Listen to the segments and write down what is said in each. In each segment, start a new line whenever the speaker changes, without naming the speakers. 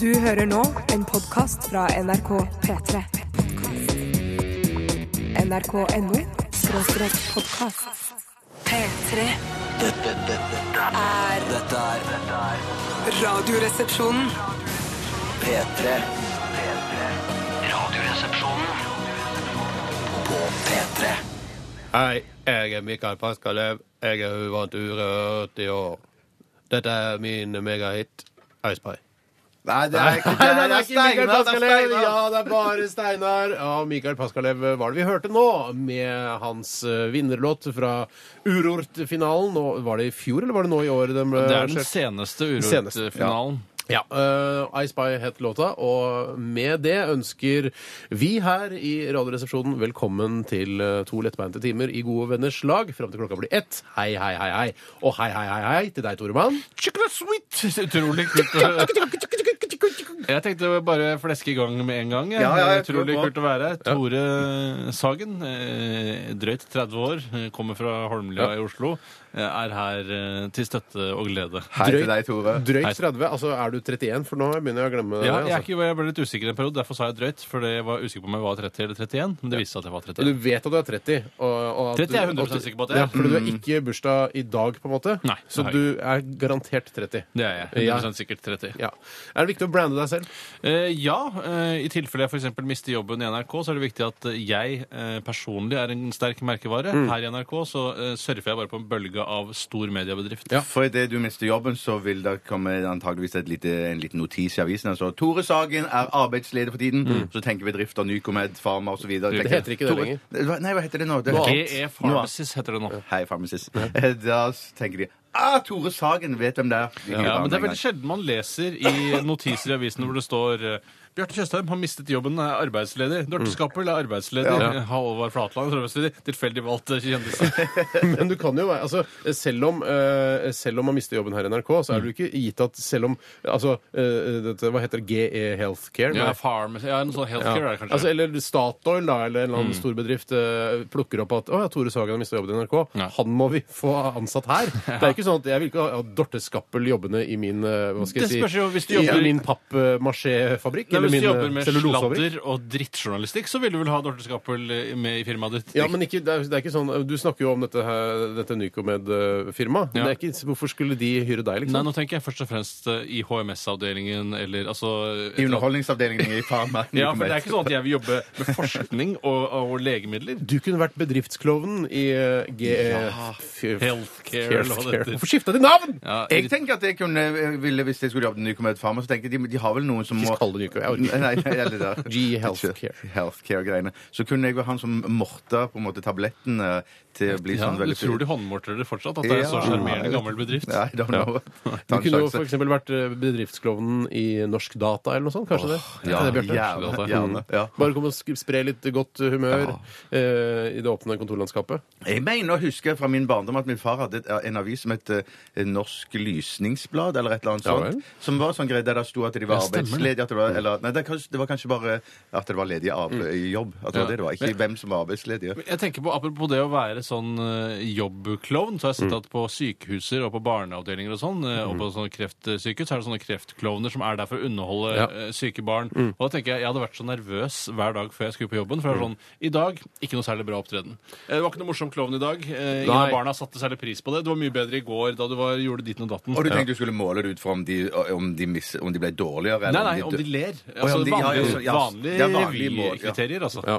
Du hører nå en podkast fra NRK P3. NRK.no skråstrek podkast. P3
Dette, dette,
er
dette er
Radioresepsjonen.
P3. Radioresepsjonen på P3.
Hei, jeg er Mikael Paskalev. Jeg er uvant urørt i år. Dette er min megahit Ice Pie.
Nei, det er ikke,
Nei, det er ikke Mikael
Steinar, det er
Paskalev!
Steinar.
Ja, det er bare Steinar. Ja, Mikael Paskalev var det vi hørte nå, med hans eh, vinnerlåt fra Urort-finalen. Nå- Var det i fjor, eller var det nå i år? Den ble
Det er den
arrangert?
seneste
Eh, Seneste, ja.
Urort-finalen.
Ja, eh, Ice Pie het låta, og med det ønsker vi her i Radioresepsjonen velkommen til eh, to lettbeinte timer i gode venners lag fram til klokka blir ett. Hei, hei, hei, hei. Og hei, hei, hei, hei til deg, Toremann.
Utrolig kult. Jeg tenkte å bare fleske i gang med en gang. jeg.
Ja, ja, jeg tror
Utrolig
det var-
kult å være her. Tore Sagen, eh, drøyt 30 år, eh, kommer fra Holmlia i Oslo, eh, er her eh, til støtte og glede.
Hei til deg, Tore.
Drøyt 30. Altså, er du 31? For nå begynner jeg å glemme
Ja,
det.
jeg, er
Altså.
ikke, jeg ble litt usikker en periode, derfor sa jeg drøyt. For jeg var usikker på om jeg var 30 eller 31, men det viste seg at jeg var
Og
31.
Du vet at du er 30. Og, og at
30 er jeg
du-
100% sikker på at jeg er. Mm.
ja, Fordi du har ikke bursdag i dag, på en måte.
Nei, det
så
har jeg
du er garantert 30.
Det er jeg.
Ja.
100 sikkert 30.
Ja. Er det viktig å brande deg selv?
Eh, ja, eh, i tilfelle jeg f.eks. mister jobben i NRK, så er det viktig at eh, jeg eh, personlig er en sterk merkevare. Her i NRK så eh, surfer jeg bare på en bølge av stor mediebedrift.
For idet du mister jobben, så vil det komme antageligvis et lite, en liten notis i avisen. Altså, Tore Sagen er arbeidsleder for tiden. Så tenker bedrifter Nycomed, Pharma osv.
Mm. Det
heter ikke det lenger.
Nei, hva heter det nå? Det
GE Pharmacis E heter det nå.
Hei, pharmacist. Eh, Da s- tenker de Ah, Tore Sagen! Vet hvem det er. De hyrer
Ja,
ham
men Det
en
er veldig
gang.
sjelden man leser i notiser i avisen hvor det står eh, Bjarte Tjøstheim har mistet jobben, er arbeidsledig. Dorte Skappel er arbeidsledig.
Ja.
Halvard Flatland er arbeidsledig. Tilfeldig valgt kjendiser.
Men du kan jo være altså, selv, om, eh, selv om man mister jobben her i NRK, så er det jo ikke gitt at selv om altså, eh, dette, Hva heter det? GE Healthcare?
Ja,
Nei.
pharmacy, ja, noe sånn healthcare er det kanskje. Mm.
Altså, eller Statoil, da, eller en eller annen storbedrift eh, plukker opp at 'Å ja, Tore Sagen har mista jobben i NRK.
Ja.
Han må vi få ansatt her.' Det er jo ikke sånn at jeg vil ikke ha Dorte Skappel jobbende i min eh, hva skal jeg
Det
si,
spørs jo hvis du
i
jobber-
min pappmasjéfabrikk.
Nei,
Eller
hvis
min
du jobber
eh,
med
cellulosefabrikk.
sladder og drittjournalistikk, så vil du vel ha Dorte Skappel eh, med i firmaet ditt?
Ja, men ikke, det, er, det er ikke sånn Du snakker jo om dette, her- dette Nycomed-firmaet.
Ja.
Det er ikke- Hvorfor skulle de hyre deg,
Nei,
liksom?
nå tenker jeg først og fremst eh, i HMS-avdelingen eller altså
I underholdningsavdelingen i Pharma.
Ja, for det er ikke sånn at jeg vil jobbe med forskning og, og legemidler.
Du kunne vært bedriftsklovnen i eh, G...
Healthcare, eller hva det heter.
Hvorfor skifta de navn?!
Ja,
Jeg tenker at jeg kunne, jeg ville, hvis jeg skulle jobbe i Nycomed Pharma, så tenker jeg de, de har vel noen som
Ikke
må
kall det Nycomed, jeg orker ikke.
Nei, nei, eller da.
G Healthcare.
Healthcare-greiene. Så kunne jeg være han som morta på en måte tablettene til å bli
ja,
sånn
du
veldig
tror de håndmorter det fortsatt? At det er en så
Ja.
sjarmerende gammel bedrift?
Nei, I don't know.
Du
Ta en
kunne jo
sjanse.
f.eks. vært eh, bedriftsklovnen i Norsk Data eller noe sånt. Kanskje det?
Ja,
Er det Bjarte? Mm.
gjerne. gjerne. Ja.
Bare kom og sk- spre litt godt humør eh, i det åpne kontorlandskapet.
Jeg mener å huske fra min barndom at min far hadde et- en avis som het eh, Norsk Lysningsblad, eller et eller annet
Ja vel.
sånt. Som var sånn greie der det sto at de var
Ja, stemmer det.
arbeidsledige. At det var, eller, nei, det, er kanskje, det var kanskje bare at det var ledige av,
Mm.
i jobb. At det
Ja.
var det det var. Ikke hvem som var arbeidsledige.
Jeg tenker på, Apropos det å være sånn eh, jobbklovn, så har jeg
Mm.
sett at på sykehuser og på barneavdelinger og sånn, eh, og på sånne kreftsykehus, så er det sånne kreftklovner som er der for å underholde
Ja.
eh, syke barn.
Mm.
Og da tenker Jeg jeg hadde vært så nervøs hver dag før jeg skulle på jobben. For jeg var sånn I dag ikke noe særlig bra opptreden. Eh, Det var ikke noe morsom klovn i dag. eh, Ingen
Nei.
av barna satte særlig pris på det. Det var mye bedre i går da du var, gjorde ditten og datten.
Og du tenkte du skulle måle det ut fra om de, om de, miss, om de ble dårligere?
Nei,
eller
nei, om de ler.
ja,
Altså
om de- ja, ja,
vanlige,
ja, ja.
vanlige
Det er vanlige mål, ja.
revykriterier, altså.
Ja.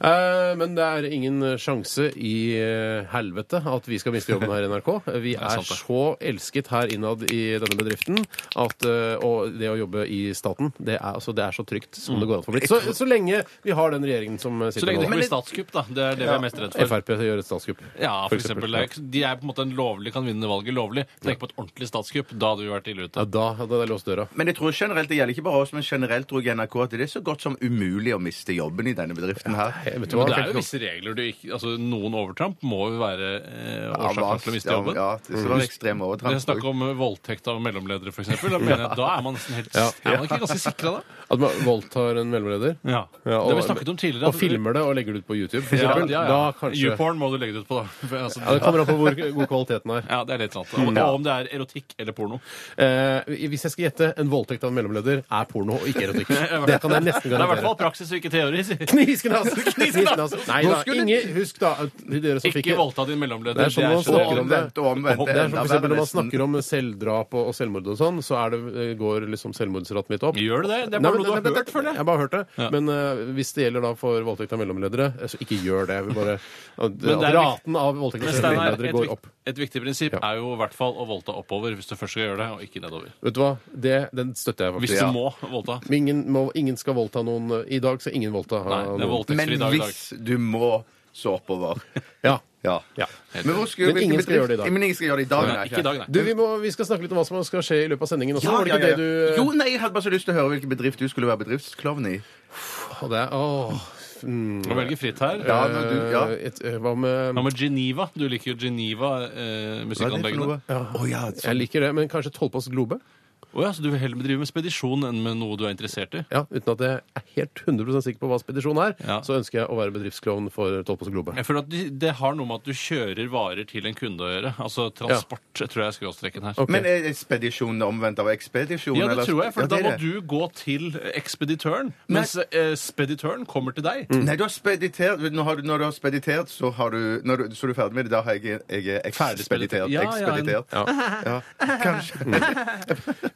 Eh, men det er ingen sjanse i eh, helvete at vi skal miste jobben her i NRK. Vi
er
er
sant, det.
så elsket her innad i denne bedriften, at, eh, og det å jobbe i staten, det er, altså, det er så trygt som det går an å få blitt. Så, så lenge vi har den regjeringen som
Mm.
eh,
Så
sitter
lenge det ikke
nå.
blir statskupp, da. Det er det vi er mest redd for.
Frp gjør et statskupp.
Ja, for
For eksempel.
eksempel. Det er ikke- De er på en måte en lovlig, kan vinne valget lovlig. Tenk på et ordentlig statskupp. Da hadde vi vært ille
Ja,
ute.
da hadde jeg låst døra.
Men jeg tror generelt, det gjelder ikke bare oss, men generelt tror jeg NRK at det er så godt som umulig å miste jobben i denne bedriften her.
vet du hva?
Men det er jo visse regler. Du ikke, altså, noen overtramp må jo være eh,
Ja,
årsaken til å miste
ja,
jobben.
Ja, det er
Mm.
sånn ekstrem
Det er
overtramp.
snakk om eh, voldtekt av mellomledere, f.eks. Da, mener jeg- da er man nesten helt Er man ikke ganske sikra, da?
At man voldtar en mellomleder? Ja,
Ja. det har vi snakket om tidligere.
Og filmer det og legger det ut på YouTube, for
Ja,
eksempel.
ja,
Da
ja.
kanskje
YouPorn må du legge det ut på, da. For, Altså,
ja, Det Mm, kommer an på hvor god kvaliteten er.
ja, det er litt sant. Og, og om det er erotikk eller porno.
Eh, hvis jeg skal gjette, en voldtekt av en mellomleder er porno og ikke erotikk. Det kan jeg nesten
Det er i hvert
garantere.
fall praksis og ikke teori. sier jeg.
Kniskenass! Kniskenass! Nei
Nå
da,
skulle-
Inge, husk da at de dere som fikk
Ikke voldta din mellomleder.
Det er sånn man
så-
snakker om
Omvendt og omvendt.
Det er som
Enda
for eksempel
verre
Når man
nesten.
snakker om selvdrap og, og selvmord og sånn, så er det, eh, går liksom selvmordsraten litt opp.
Gjør det det? Det
Nei,
er bare
men-
noe du har
nei, men-
hørt, føler jeg.
har bare hørt det. Men eh, hvis det gjelder da for voldtekt av mellomledere, eh, så ikke gjør det. Vi bare, at
det er
at
viktig-
raten av voldtekt
Men
av
Steinar,
mellomledere
et,
går
vik-
opp.
et viktig prinsipp er jo i hvert fall å voldta oppover hvis du først skal gjøre det, og ikke nedover.
Vet du hva? Det, den støtter jeg
Hvis
faktisk.
du
Ja.
må voldta.
Men Ingen, må, ingen skal voldta noen eh, i dag, så ingen voldta.
Nei,
eh,
det er
noen.
voldtektsfri
Men
dag i dag.
hvis du må, så oppover.
Ja.
Ja.
Ja.
Men, hvor skulle,
Men
hvilken
ingen skal
bedrift-
gjøre det i dag.
Men ingen skal gjøre det i dag.
Nei, ikke i dag, nei.
Du, vi, må, vi skal snakke litt om hva som skal skje i løpet av sendingen også.
Ja,
Var det
ja,
ikke
ja.
det du
Jo, nei, jeg hadde bare så lyst til å høre hvilken bedrift du skulle være bedriftsklovn i.
Å, det er, eh, åh, mm,
Må velge fritt her.
Ja, men du, ja.
eh, et, eh, Hva med
Hva med Geneva? Du liker jo eh, Geneva-musikkanleggene.
Å ja,
Jeg
sånn.
liker det, men kanskje Tollpass Globe?
Å ja, så du vil heller bedrive med spedisjon enn med noe du er interessert i?
Ja, Uten at jeg er helt 100 sikker på hva spedisjon er,
Ja.
så ønsker jeg å være bedriftsklovn for Tollpass Globe.
Jeg føler at de- Det har noe med at du kjører varer til en kunde å gjøre. Altså transport, tror jeg er skråstreken her.
Ok.
Men er ekspedisjon omvendt av ekspedisjon?
Ja,
eller-
det tror jeg, for
Ja,
da
det er
må
det.
du gå til ekspeditøren, mens eh, speditøren kommer til deg.
Mm.
Nei, du har speditert. Når, har du, når du har speditert, så, har du, når du, så er du ferdig med det. Da har jeg, jeg er ekspeditert.
Ferdigspeditert. Ja, ja, en-
ekspeditert. Ja. Kanskje.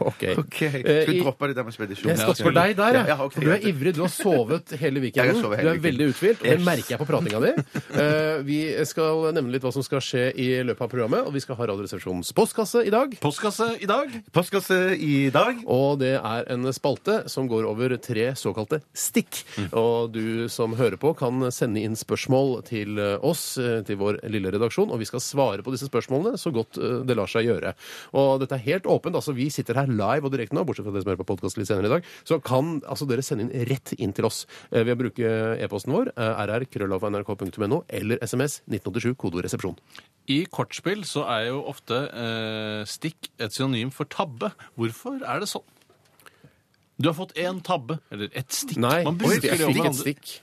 Ok.
OK.
Eh,
Skal vi
i-
droppe det der med spedisjon?
Jeg stopper
Ja,
deg der, jeg.
Ja, ja, ok,
for du er
greit.
ivrig. Du har sovet hele
Jeg
weekenden.
har sovet
du
hele
er veldig uthvilt, og det merker jeg på pratinga di. Eh, vi skal nevne litt hva som skal skje i løpet av programmet, og vi skal ha Radioresepsjonens postkasse i dag.
Postkasse i dag.
Postkasse i dag.
Og det er en spalte som går over tre såkalte stikk.
Mm.
Og du som hører på, kan sende inn spørsmål til eh, oss, eh, til vår lille redaksjon, og vi skal svare på disse spørsmålene så godt eh, det lar seg gjøre. Og dette er helt åpent. altså Vi sitter her live og direkte nå, bortsett fra det som er på podkast litt senere i dag. Så kan altså dere sende inn rett inn til oss eh, ved å bruke e-posten vår, eh, rrkrøllalfa.nrk.no, eller SMS 1987, kodeord resepsjon.
I kortspill så er jo ofte eh, stikk et synonym for tabbe. Hvorfor er det sånn? Du har fått én tabbe, eller ett stikk.
Nei,
Man bruker
jeg
det om
fikk et
hverandre.
stikk.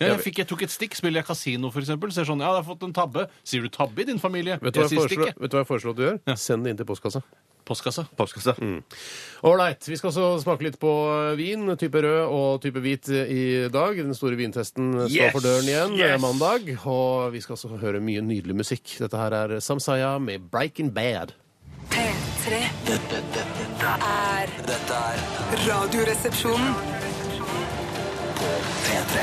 Ja, jeg, fikk, jeg tok et stikk, spiller jeg kasino for eksempel, så er det sånn, ja, jeg har fått en tabbe. Sier du tabbe i din familie?
Vet du, hva jeg
jeg sier
foreslår,
stikket.
vet du hva jeg foreslår at du gjør? Send det inn til postkassa.
Postkasse.
Postkasse.
Mm.
Ålreit. Vi skal også smake litt på eh, vin, type rød og type hvit eh, i dag. Den store vintesten eh, står
Yes!
for døren igjen eh,
Yes!
mandag. Og vi skal også høre mye nydelig musikk. Dette her er Samsaya med 'Breaking Bad'.
P3
Dette, dette, dette,
er
dette er
Radioresepsjonen.
P3.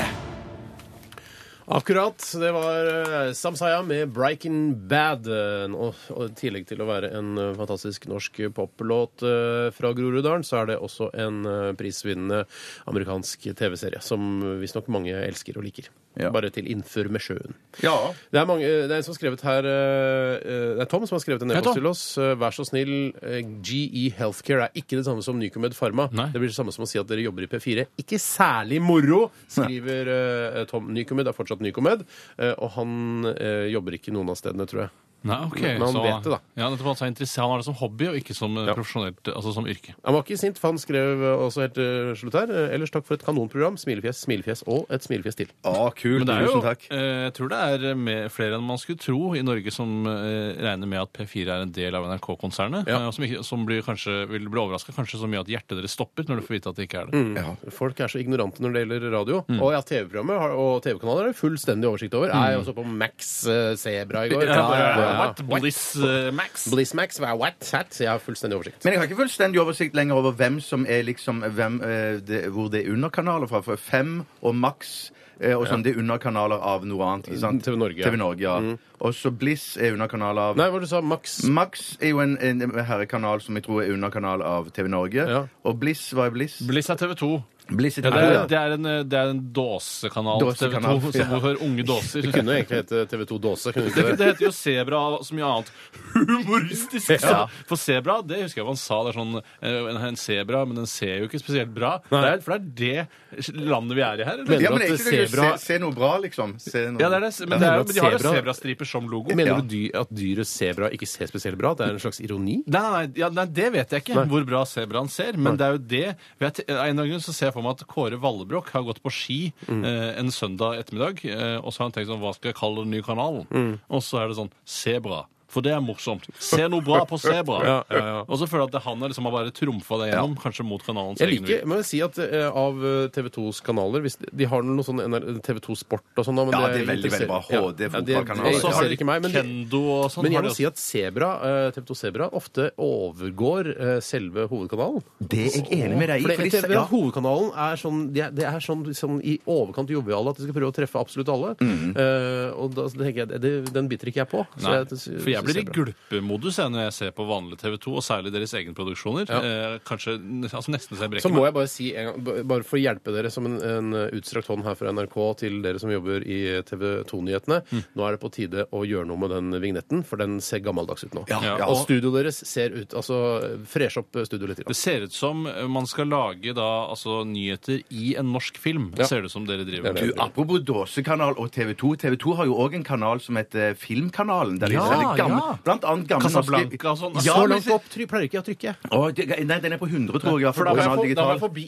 Akkurat. Det var eh, Samsaya med 'Breaking Bad'. eh, Og, og i tillegg til å være en eh, fantastisk norsk poplåt eh, fra Groruddalen, så er det også en eh, prisvinnende amerikansk TV-serie som visstnok mange elsker og liker.
Ja.
Bare til innfør med sjøen.
Ja.
Det er, mange, det er en som har skrevet her eh, eh, Det er Tom som har skrevet en
Hei, Tom.
e-post til oss. Eh, Vær så snill, eh, GE Healthcare er ikke det samme som Nycomed Pharma.
Nei.
Det blir det samme som å si at dere jobber i P4. Ikke særlig moro, skriver eh, Tom. Nycomed er fortsatt Nycomed, eh, og han eh, jobber ikke noen av stedene, tror jeg.
Nei, ok.
Men han Mm. vet det, da.
Ja, nettopp, altså, interesse- han har det som hobby, og ikke som eh, profesjonelt, altså som yrke.
Han var ikke sint, for han skrev eh, også helt eh, slutt her. eh, Ellers takk for et kanonprogram. Smilefjes, smilefjes og et smilefjes til.
Å, kult.
Men det er jo,
Tusen takk.
eh, jeg tror det er mer, flere enn man skulle tro i Norge som eh, regner med at P4 er en del av NRK-konsernet,
Ja.
eh, og som, ikke, som blir, kanskje, vil bli overraska kanskje så mye at hjertet deres stopper når du får vite at det ikke er det.
Mm.
Folk er så ignorante når det gjelder radio.
Mm.
Og ja, TV-programmet har- og TV-kanaler har jeg fullstendig oversikt over. Jeg også på Max eh, Zebra i går.
Ja,
Ja.
What? Bliss eh, Max?
Bliss Max, hva er what? Hat? Så Jeg har fullstendig oversikt.
Men jeg har ikke fullstendig oversikt lenger over hvem som er liksom hvem, eh, det, Hvor det er underkanaler fra. For fem og maks eh, og sånn, det er underkanaler av noe annet. Ikke sant?
TV Norge, ja.
TV Norge, ja. Og så Bliss er underkanal av
Nei, hva var det du sa? Max?
Mm.
Max er jo en, en herrekanal som jeg tror er underkanal av TV Norge.
Ja.
Og Bliss, hva er Bliss?
Bliss er TV 2.
Bliss
Ja,
er
det,
TV
er,
ja.
det, er en, eh, det er en dåsekanal TV 2
Dåsekanal, ja.
som for unge dåser.
Det kunne jo egentlig hete TV2 Dåse. Kunne
Det,
det ikke det?
det heter jo Sebra og så mye annet humoristisk. Altså,
Ja.
For Sebra, det husker jeg hva han sa. Det er sånn eh, en- En sebra, men den ser jo ikke spesielt bra. Det er, for det er det landet vi er i her. eller?
Mener
Ja,
du
men
at
det er ikke det
sebra
se, se noe bra, liksom. Se noe.
Ja, det er det. Men, det er, jo- men de har jo sebrastriper som logo.
Mener
Ja.
du dy at dyret sebra ikke ser spesielt bra? At det er en slags ironi?
Nei, nei, nei, ja, nei, det vet jeg ikke, hvor bra sebraen ser. Men det er jo det vet, jeg- Av en eller annen grunn så ser jeg for meg at Kåre Vallebrokk har gått på ski
Mm.
eh, en søndag ettermiddag, eh, og så har han tenkt sånn Hva skal jeg kalle den nye kanalen?
Mm.
Og så er det sånn Sebra. For det er morsomt. Se noe bra på sebra.
Ja, ja, ja.
Og så føler jeg at det, han har liksom har bare trumfa det gjennom, kanskje mot kanalens
Jeg
egen vilje.
liker, må jeg si at eh, Av TV 2s kanaler hvis de- De har noe sånn TV 2 Sport og sånn. da, Men
Ja, det er veldig, veldig bra.
interesser-
HD
Ja, det-
fotballkanaler.
det
Og så har
interesserer
de
ikke meg. Men, de,
kendo og sånn.
men jeg
har de
må si
også.
at Sebra, eh, TV 2 Sebra ofte overgår eh, selve hovedkanalen.
Det er jeg enig med deg i.
For
fordi-
det- TV,
ja.
Hovedkanalen er sånn, det er, det er sånn, sånn i overkant joviale at de skal prøve å treffe absolutt alle. Eh, og da så tenker jeg, det, Den biter ikke jeg på. Så
Mm. Nei,
det synes
for jeg blir i
er bra.
gulpemodus jeg, når jeg ser på vanlig TV 2, og særlig deres egne produksjoner. Eh, kanskje altså nesten så jeg
Så
brekker
må jeg bare si, en gang, b- bare for å hjelpe dere som en, en utstrakt hånd her fra NRK til dere som jobber i TV 2-nyhetene,
Mm.
nå er det på tide å gjøre noe med den vignetten, for den ser gammeldags ut nå.
Ja,
Ja,
ja.
Og
og-
studioet deres ser ut Altså, fresh opp studioet litt.
Det
Grann.
ser ut som man skal lage da, altså, nyheter i en norsk film.
Ja.
Ser det ut som dere driver
Det er
med.
Du, apropos dåsekanal og TV 2. TV 2 har jo òg en kanal som heter eh, Filmkanalen. Der de
Ja,
sender gamle,
ja.
Blant annet gamle
Casablanca og sånn.
Ja,
Så
men
langt
se-
Opp, try, pleier ikke jeg å trykke. jeg.
Å, det, nei, den er på 100, tror jeg.
For da var jeg,
original
for, da var jeg
digital.
forbi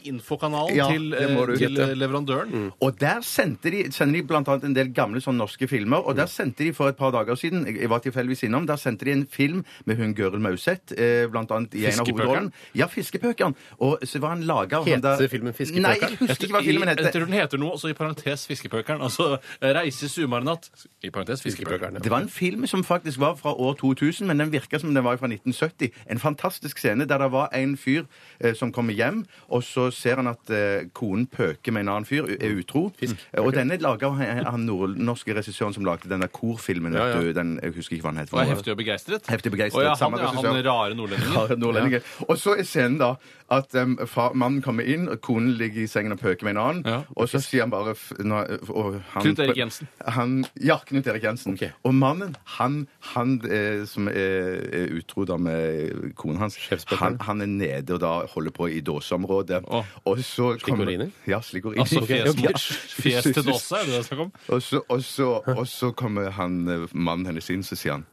infokanalen
Ja,
til,
det må
eh,
du
til
vite. Mm.
eh, leverandøren.
Og der sendte de, sender de blant annet en del gamle sånn norske filmer. Og der
Mm.
sendte de for et par dager siden jeg jeg var tilfeldigvis innom, der sendte de en film med hun Gøril Mauseth eh, blant annet i en av
Fiskepøkeren?
hovedrollene. Ja, Fiskepøkeren. Og så var han laga
Heter filmen Fiskepøkeren?
Nei, jeg husker ikke hva filmen
Jeg
heter.
tror den heter noe, så i parentes Fiskepøkeren. Altså Reise sumarnatt. I parentes Fiskepøkeren.
Det var en film som faktisk var fra år 2000, men den virka som den var fra 1970. En fantastisk scene der det var en fyr eh, som kommer hjem, og så ser han at eh, konen pøker med en annen fyr, u- er utro. Eh, Og denne laga han, han nordnorske regissøren som lagde denne korfilmen. vet
Ja, ja.
du, Den, jeg husker ikke hva den het. for
Og er
noe.
heftig og begeistret.
Heftig begeistret,
Og ja, han,
samme
ja, han
regissør.
rare nordlendingen.
Ja, nordlendinger. Og så er scenen da at em, fa- mannen kommer inn, og konen ligger i sengen og pøker med en annen.
Ja.
Og så sier han bare f- nå- og han,
Knut Erik Jensen.
Han, ja, Knut Erik Jensen.
Ok.
Og mannen, han, han eh, som er, er utro da med konen hans,
Sjefsbøkeren.
han, han er nede og da holder på i dåseområdet.
Å.
Og så kommer-
Slikkoriner?
Ja, slikkoriner.
Altså fjes,
Ja.
fjes til Dåse, er det det jeg snakker om?
Og så, og så, og så kommer han, eh, mannen hennes inn, så sier han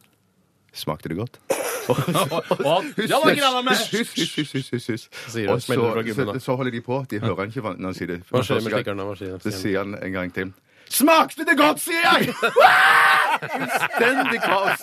Smakte det godt?
Og han, ja, det grann meg!
Hysj, hysj, hysj, hysj, hysj, hysj.
sier det,
Og
smeller fra gymmen,
så,
da.
så, så holder de på. De hører ikke hva når han sier det.
Hva skjer med
Første gang.
slikkeren da? Hva skjer?
Så sier han en gang til. Smakte det godt, sier jeg! Fullstendig kaos.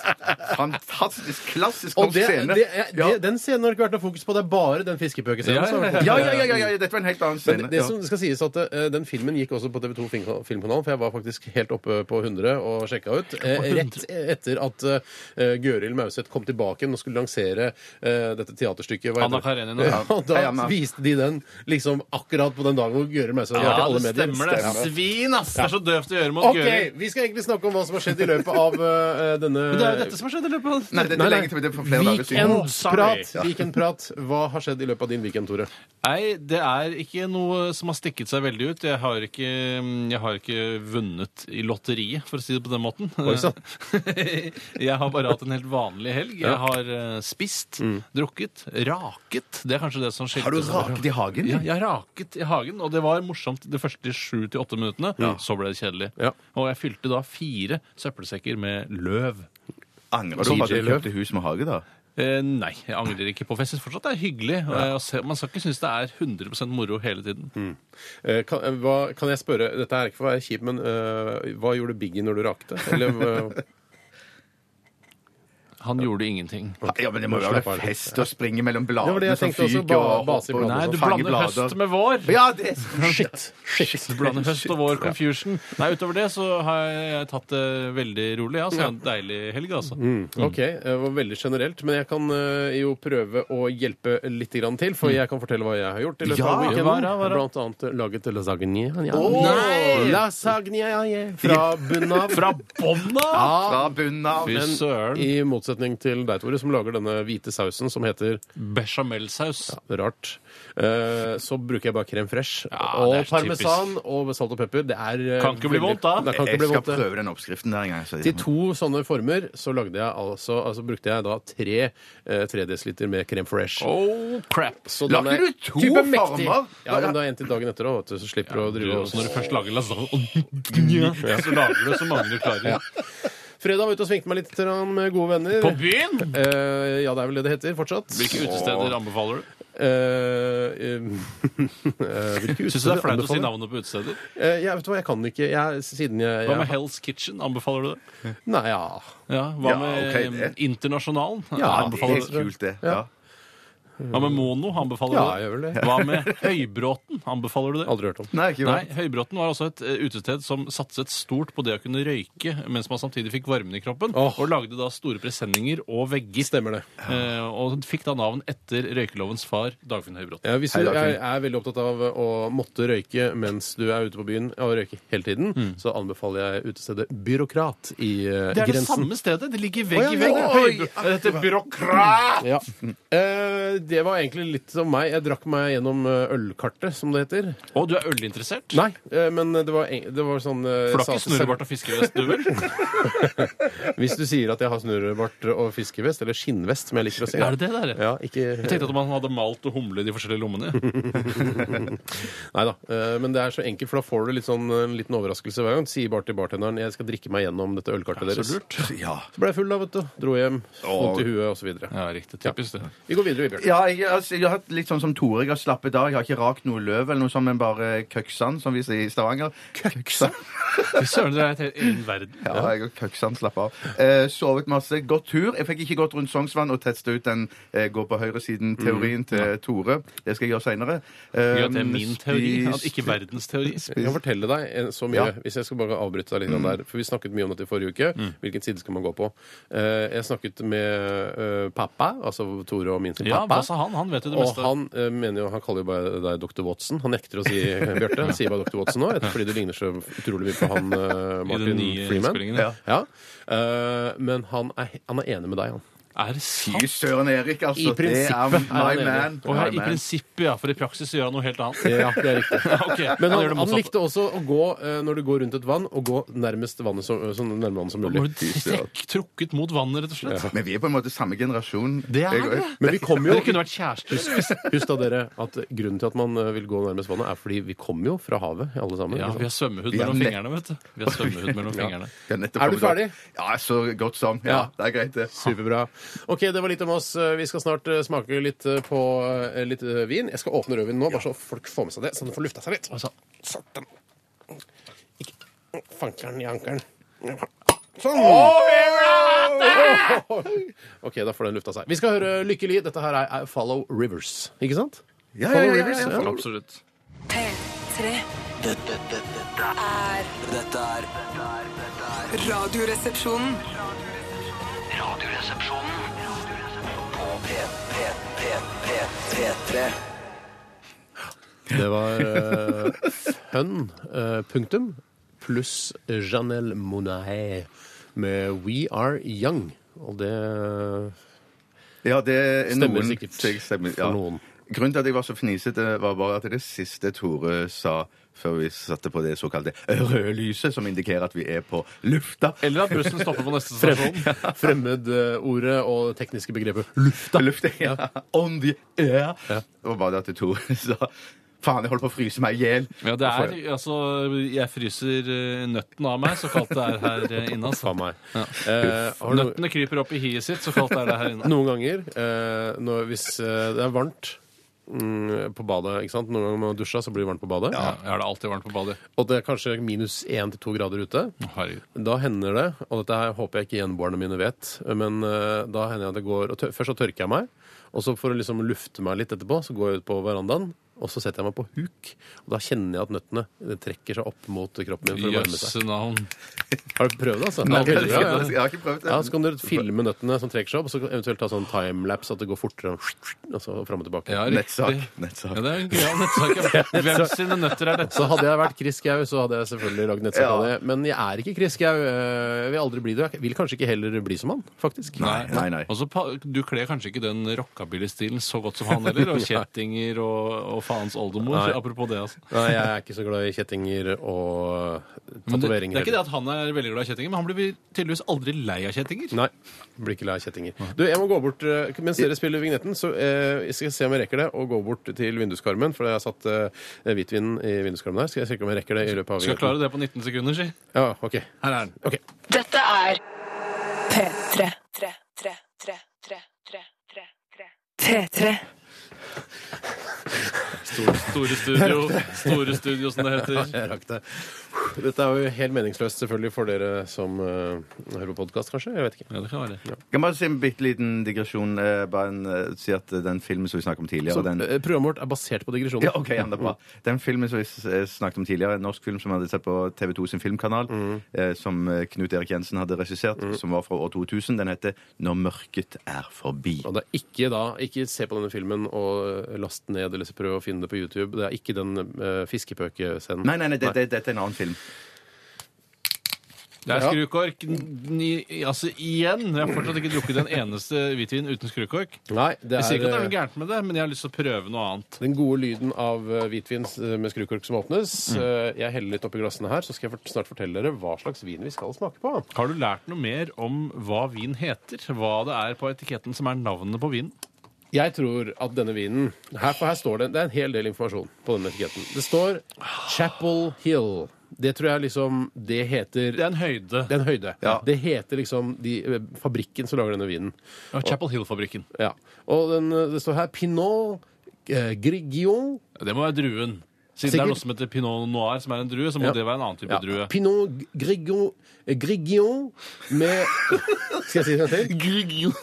Fantastisk klassisk
Og
norsk
det,
scene.
det, er-
Ja.
det, den scenen har det ikke vært noe fokus på. Det er bare den fiskepøkescenen.
Ja, ja,
som har vært
ja,
fokus på.
ja, ja, ja, ja, ja, dette var en helt annen
Men
scene.
det, det
ja.
som skal sies at eh, Den filmen gikk også på TV2 Film- Filmkanalen, for jeg var faktisk helt oppe på 100 og sjekka ut. eh, rett etter at uh, Gøril Mauseth kom tilbake igjen og skulle lansere eh, dette teaterstykket. hva
Anna
heter det?
Karenina.
Ja, og da
Hei, Anna.
viste de den liksom akkurat på den dagen hvor Gøril Mauseth
Ja,
var i alle
det
medier.
stemmer det. Svin, ass! Det er så døvt å gjøre mot
OK,
Gøri.
vi skal egentlig snakke om hva som har skjedd i løpet av eh, denne
Men det er jo dette som har skjedd i løpet
Nei,
av
dette er lenge til det er for flere dager siden.
Weekend.
Weekendprat.
Sorry.
Weekendprat. Hva har skjedd i løpet av din weekend, Tore?
Nei, det er ikke noe som har stikket seg veldig ut. Jeg har ikke, jeg har ikke vunnet i lotteriet, for å si det på den måten.
Oi, sann.
jeg har bare hatt en helt vanlig helg. Jeg har eh, spist, drukket, raket. Det er kanskje det som skilte
Mm. Har du
seg fra-
raket i hagen?
Ja, jeg raket i hagen, og det var morsomt de første sju til åtte minuttene. Så ble det kjedelig.
Ja.
Og jeg fylte da fire søppelsekker med løv.
Angrer du på at
DJ
du
Løv.
kjøpte hus med hage, da?
Eh, nei, jeg angrer ikke på for Jeg synes fortsatt det er hyggelig. og jeg- og se- Man skal ikke synes det er 100 moro hele tiden.
Eh, Kan, eh, hva, kan jeg spørre, dette er ikke for å være kjip, men eh, hva gjorde Biggie når du rakte? Eller, eh,
Han gjorde ingenting.
Ja, men det må jo
Slapp
være
av litt.
fest å springe mellom
Det var det
bladene
jeg
som
tenkte også,
fyker
ba-
og
base i
hopper og
bladene.
Nei, du
fange
blander
blader.
høst med vår.
Ja, det
shit, shit.
Du blander høst og vår confusion. Nei, utover det så har jeg tatt det veldig rolig. Ja, så det er en deilig helg, altså.
Mm. Ok, eh, det var veldig generelt, men jeg kan eh, jo prøve å hjelpe litt grann til, for jeg kan fortelle hva jeg har gjort i løpet
Mm. Ja,
av weekenden.
hva da, hva da?
Blant annet eh, laget lasagne. Ja.
Nei!
Lasagne ja, ja, fra bunnen av.
Fra bånn av!
Fra bunnen av.
Fy
Men
søren.
i motsetning til deg, Tore, som lager denne hvite sausen som heter
Bechamelsaus.
Rart. Eh, så bruker jeg bare krem fresh
Ja,
og
det er
parmesan og salt og pepper. Det er eh,
Kan ikke bli
veldig-
vondt, da.
Det kan ikke
Jeg
bli
skal
vondt, det.
prøve den oppskriften der en gang. Så.
Til to sånne former så lagde jeg altså, altså brukte jeg da tre, eh, tre desiliter med krem fresh.
Oh, crap.
Så
Lagde
den er
du to
type mektig.
former?
Ja, men da en til dagen etter òg, så slipper du å drive og
Så når du først lager lasagne, så lager du så mange du klarer.
Fredag var ute og svingte meg litt grann med gode venner.
På byen!
Eh, ja, det er vel det det heter fortsatt.
Hvilke utesteder anbefaler du?
Eh, eh, eh, hvilke
Syns du det er flaut å si
anbefaler?
navnet på utesteder?
Eh, jeg vet du hva, jeg kan ikke jeg, Siden jeg,
Hva med
jeg
Hell's Kitchen? Anbefaler du det?
Nei, ja.
Ja, Hva
Ja,
med
ok,
eh,
det.
Internasjonalen?
Ja,
Det er
Anbefaler du det?
kult, det. Ja.
Hva med Mono? Anbefaler
Ja, jeg
du det?
gjør vel det.
Hva med Høybråten? Anbefaler du det?
Aldri hørt om.
Nei, ikke
Nei, Høybråten var også et eh, utested som satset stort på det å kunne røyke mens man samtidig fikk varmen i kroppen,
Åh.
og lagde da store presenninger og vegger.
Stemmer det.
Eh, og fikk da navn etter røykelovens far, Dagfinn Høybråten.
Ja, hvis du
Hei, Dagfinn.
er, er veldig opptatt av å måtte røyke mens du er ute på byen, og røyke hele tiden, så anbefaler jeg utestedet Byråkrat i eh,
Mm. Det er det
Grensen.
samme stedet. Det ligger
Å,
vegg
ja,
i
ja,
vegg.
ja.
Høybro- Dette er byråkrat!
Ja. Eh, det var egentlig litt om meg. Jeg drakk meg gjennom eh, ølkartet, som det heter.
Og du er ølinteressert?
Mm. Nei, eh, men det var, en- det var sånn eh,
For du har ikke
sa-
snurrebart og fiskevest, du vel?
Hvis du sier at jeg har snurrebart og fiskevest, eller skinnvest, som jeg liker å si.
Er det det der?
Ja, ikke...
Jeg tenkte at man hadde malt og humle i de forskjellige lommene.
Nei da. eh, Men det er så enkelt, for da får du litt sånn, en liten overraskelse hver gang. Sier bare til bartenderen jeg skal drikke meg gjennom dette ølkartet
Så
deres.
lurt.
Ja.
Så ble jeg full da, vet du. Dro hjem. Vondt i huet osv. videre
Ja, riktig. Typisk det.
Vi går videre, vi, Bjørn.
Ja, jeg, altså, jeg har hatt litt sånn som Tore. Jeg har slappet av. Jeg har ikke rakt noe løv eller noe sånt, men bare køksan, som vi sier i Stavanger. Køksan?
Fy søren, dere er i egen verden.
Ja, jeg og køksan slapp av. Eh, sovet masse. Gått tur. Jeg fikk ikke gått rundt Sognsvann og testa ut den eh, gå på høyresiden-teorien til Tore. Det skal jeg gjøre Eh, seinere.
Gjør at det er min teori, at ikke verdens teori.
Jeg kan fortelle deg eh, så mye,
Ja.
hvis jeg skal bare avbryte deg litt grann
Mm.
der. For vi snakket mye om dette i forrige uke. Hvilken side skal man gå på? Eh, Jeg snakket med eh, pappa, altså Tore og min sin
Ja, hva
pappa.
sa han? Han vet jo det
Og
meste.
han eh, mener jo, han kaller jo bare deg Dr. Watson. Han nekter å si Bjarte. Han sier bare Dr. Watson nå, etter- fordi du ligner så utrolig mye på han eh, Martin
nye
Freeman.
innspillingen, ja.
Eh, men han er, han er enig med deg, han.
Er det
Fy
sant?
søren, Erik, altså.
I prinsippet er
Det er
han
my
enig.
man.
Å, ja,
My
I
man.
prinsippet, ja. For i praksis gjør han noe helt annet.
Ja, det er riktig. Men
Ok, gjør
han,
det
han
motsatte.
likte også å gå, eh, når du går rundt et vann, å gå nærmest vannet som, så nærme vannet som
Da må
mulig.
du trekk, trukket mot vannet, rett og slett.
Men vi er på en måte samme generasjon.
Det er
Jeg-
det.
Men vi kom jo
Dere kunne vært kjærester.
Husk da dere at grunnen til at man eh, vil gå nærmest vannet, er fordi vi kommer jo fra havet, alle sammen.
Ja,
ikke sant?
vi har svømmehud
Vi har
mellom
nett-
fingrene, vet du. Vi har svømmehud mellom fingrene.
Jeg har nettopp
Er du
kommet opp.
ferdig?
Ja, så godt som. Ja,
Ja.
Det er greit, det.
Superbra. Ok, det var litt om oss. Vi skal snart eh, smake litt eh, på eh, litt eh, vin. Jeg skal åpne rødvin nå, bare så folk får med seg det, så den får lufta seg litt.
Altså,
Satan. Ikke fankeren i ankeren. Sånn! OK, da får den lufta seg. Vi skal høre Lykke Li. Dette her er er Follow Rivers, ikke sant?
Ja, ja, ja, ja, ja.
Follow Rivers,
absolutt.
P3
Dette, dette, dette er
er
Dette er dette er- dette er
Radioresepsjonen.
Radioresepsjonen på P, P, P, P, P3.
Det var eh, Fun, eh, punktum, pluss Janelle Monae med We Are Young. Og det
Ja, det er
Stemmer
noen,
sikkert.
det Stemmer,
For noen.
Grunnen til at jeg var så fnisete, var bare at det siste Tore sa før vi satte på det såkalte røde lyset, som indikerer at vi er på lufta.
Eller at bussen stopper på neste stasjon.
eh, fremmedordet og det tekniske begrepet lufta.
Lufta, ja. On the air. Det var bare det at Tore sa Faen, jeg holder på å fryse meg i hjel.
Ja, det er, altså, Jeg fryser eh, nøtten av meg, så kaldt det er her eh, inne. Altså.
Faen meg. Eh, har du,
Nøttene kryper opp i hiet sitt, så kaldt er det her inne.
noen ganger eh, når, hvis eh, det er varmt mm, på badet ikke sant? Noen ganger når man har dusja, så blir det varmt på badet.
Ja, jeg har det alltid varmt på badet.
Og det er kanskje minus én til to grader ute.
Herregud.
Da hender det, og dette her håper jeg ikke gjenboerne mine vet, men eh, da hender jeg at det går og tør, Først så tørker jeg meg, og så for å liksom lufte meg litt etterpå, så går jeg ut på verandaen, og så setter jeg meg på huk, og da kjenner jeg at nøttene eh, trekker seg opp mot kroppen min for å varme seg.
Jøsse navn.
Har du prøvd det, altså?
Nei,
det er
jeg
veldig
har
bra,
ikke-
ja.
Jeg har ikke prøvd det.
Ja, Så kan du filme nøttene som trekker seg opp, og så eventuelt ta sånn timelapse at det går fortere. Og så fram og tilbake.
Ja,
Nettsak.
riktig.
Nettsak.
Ja, det er en gøyal nettsak. ja. Hvem sine nøtter er dette?
Så hadde jeg vært Chris Gau, så hadde jeg selvfølgelig lagd nettsak av det. Men jeg er ikke Chris Gau. eh, Jeg vil aldri bli det. Jeg vil kanskje ikke heller bli som han, faktisk.
Nei, nei.
Og så pa- Du kler kanskje ikke den rockabilly-stilen så godt som han heller, og kjettinger og, og faens oldemor.
Nei.
Apropos det, altså.
Nei, jeg er ikke så glad i kjettinger og
Men det, det
tatoveringer.
er ikke det at han er veldig glad i kjettinger, men han blir tydeligvis aldri lei av kjettinger.
Nei. Blir ikke lei av kjettinger. Du, jeg må gå bort eh, Mens dere spiller vignetten, så eh, jeg skal jeg se om jeg rekker det, og gå bort til vinduskarmen. For jeg har satt eh, hvitvin i vinduskarmen her. Skal jeg sjekke om jeg rekker det i løpet av
Skal
vignetten?
klare det på 19 sekunder, si.
Ja, ok.
Her er den.
Ok.
Dette er
P3. P3.
Store, store studio, store studio som det heter.
Jeg rakk det. Dette er jo helt meningsløst selvfølgelig for dere som eh, hører på podkast, kanskje. Jeg vet ikke.
Ja, det kan være.
Kan bare si en bitte liten digresjon. eh, Bare en, eh, si at eh, den filmen som vi snakket om tidligere
Så,
den...
eh, programmet vårt er basert på digresjoner.
Ja, ok, ja, det er bra. Mm. Den filmen som vi s- eh, snakket om tidligere, en norsk film som vi hadde sett på TV2 sin filmkanal, eh, som eh, Knut Erik Jensen hadde regissert, som var fra år 2000, den heter Når mørket er forbi.
Og det er ikke da, ikke se på denne filmen og eh, last ned eller så prøv å finne det på YouTube. Det er ikke den uh, fiskepøkescenen.
Nei, nei, nei, det- det- dette er en annen film.
Det er
Ja.
skrukork ni- altså igjen. Jeg har fortsatt ikke drukket en eneste hvitvin uten skrukork.
Nei, det
Jeg sier ikke at det er
er
noe
eh,
gærent med det, men jeg har lyst til å prøve noe annet.
den gode lyden av eh, hvitvin eh, med skrukork som åpnes. Eh, Jeg heller litt oppi glassene her, så skal jeg fort- snart fortelle dere hva slags vin vi skal smake på.
Har du lært noe mer om hva vin heter? Hva det er på etiketten som er navnet på vinen?
Jeg tror at denne vinen her, For her står det, det er en hel del informasjon på denne etiketten. Det står Chapel Hill. Det tror jeg liksom Det heter
Det er en høyde.
Det er en høyde.
Ja.
Det heter liksom de, eh, fabrikken som lager denne vinen.
Ja, Chapel Hill-fabrikken.
Ja. Og den, eh, det står her Pinot eh, Grigio.
Det må være druen. Siden det
Sikkert.
er noe som heter pinot noir, som er en drue, så må
Ja.
det være en annen type
Ja.
drue.
Pinot Grigio, eh, Grigio med Skal jeg si det en gang til?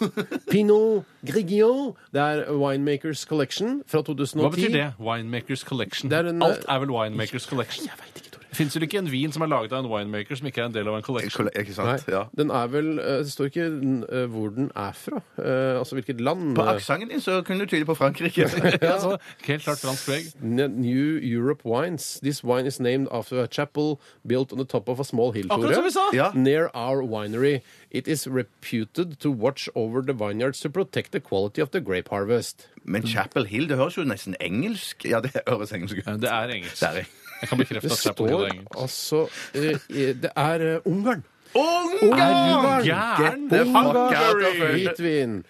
Pinot Grigio. Det er Winemakers Collection fra 2010.
Hva betyr det? Winemakers Collection.
Det er en,
Alt er eh, vel Winemakers Collection.
Jeg vet ikke, Tore.
Fins vel ikke en vin som er laget av en winemaker som ikke er en del av en collection?
Ikke sant?
Nei,
Ja.
den er vel eh, Det står ikke eh, hvor den er fra. eh, altså hvilket land.
På aksenten din så kunne du tyde på Frankrike.
Ja, så, helt klart fransk preg.
Ne- New Europe Wines. This wine is named after a chapel built on the top of a small hill. Tore,
Akkurat som vi sa!
Ja.
Near our winery. It is reputed to watch over the vineyards to protect the quality of the grape harvest.
Men Chapel Hill, det høres jo nesten engelsk Ja, det høres engelsk ut.
Det er engelsk.
Der, ja.
Jeg kan bekrefte
Det
at Chapel Hill er
står
engelsk.
altså eh, eh, Det er eh, Ungarn.
Ungarn!
Get the fuck out of here.
Hvitvin.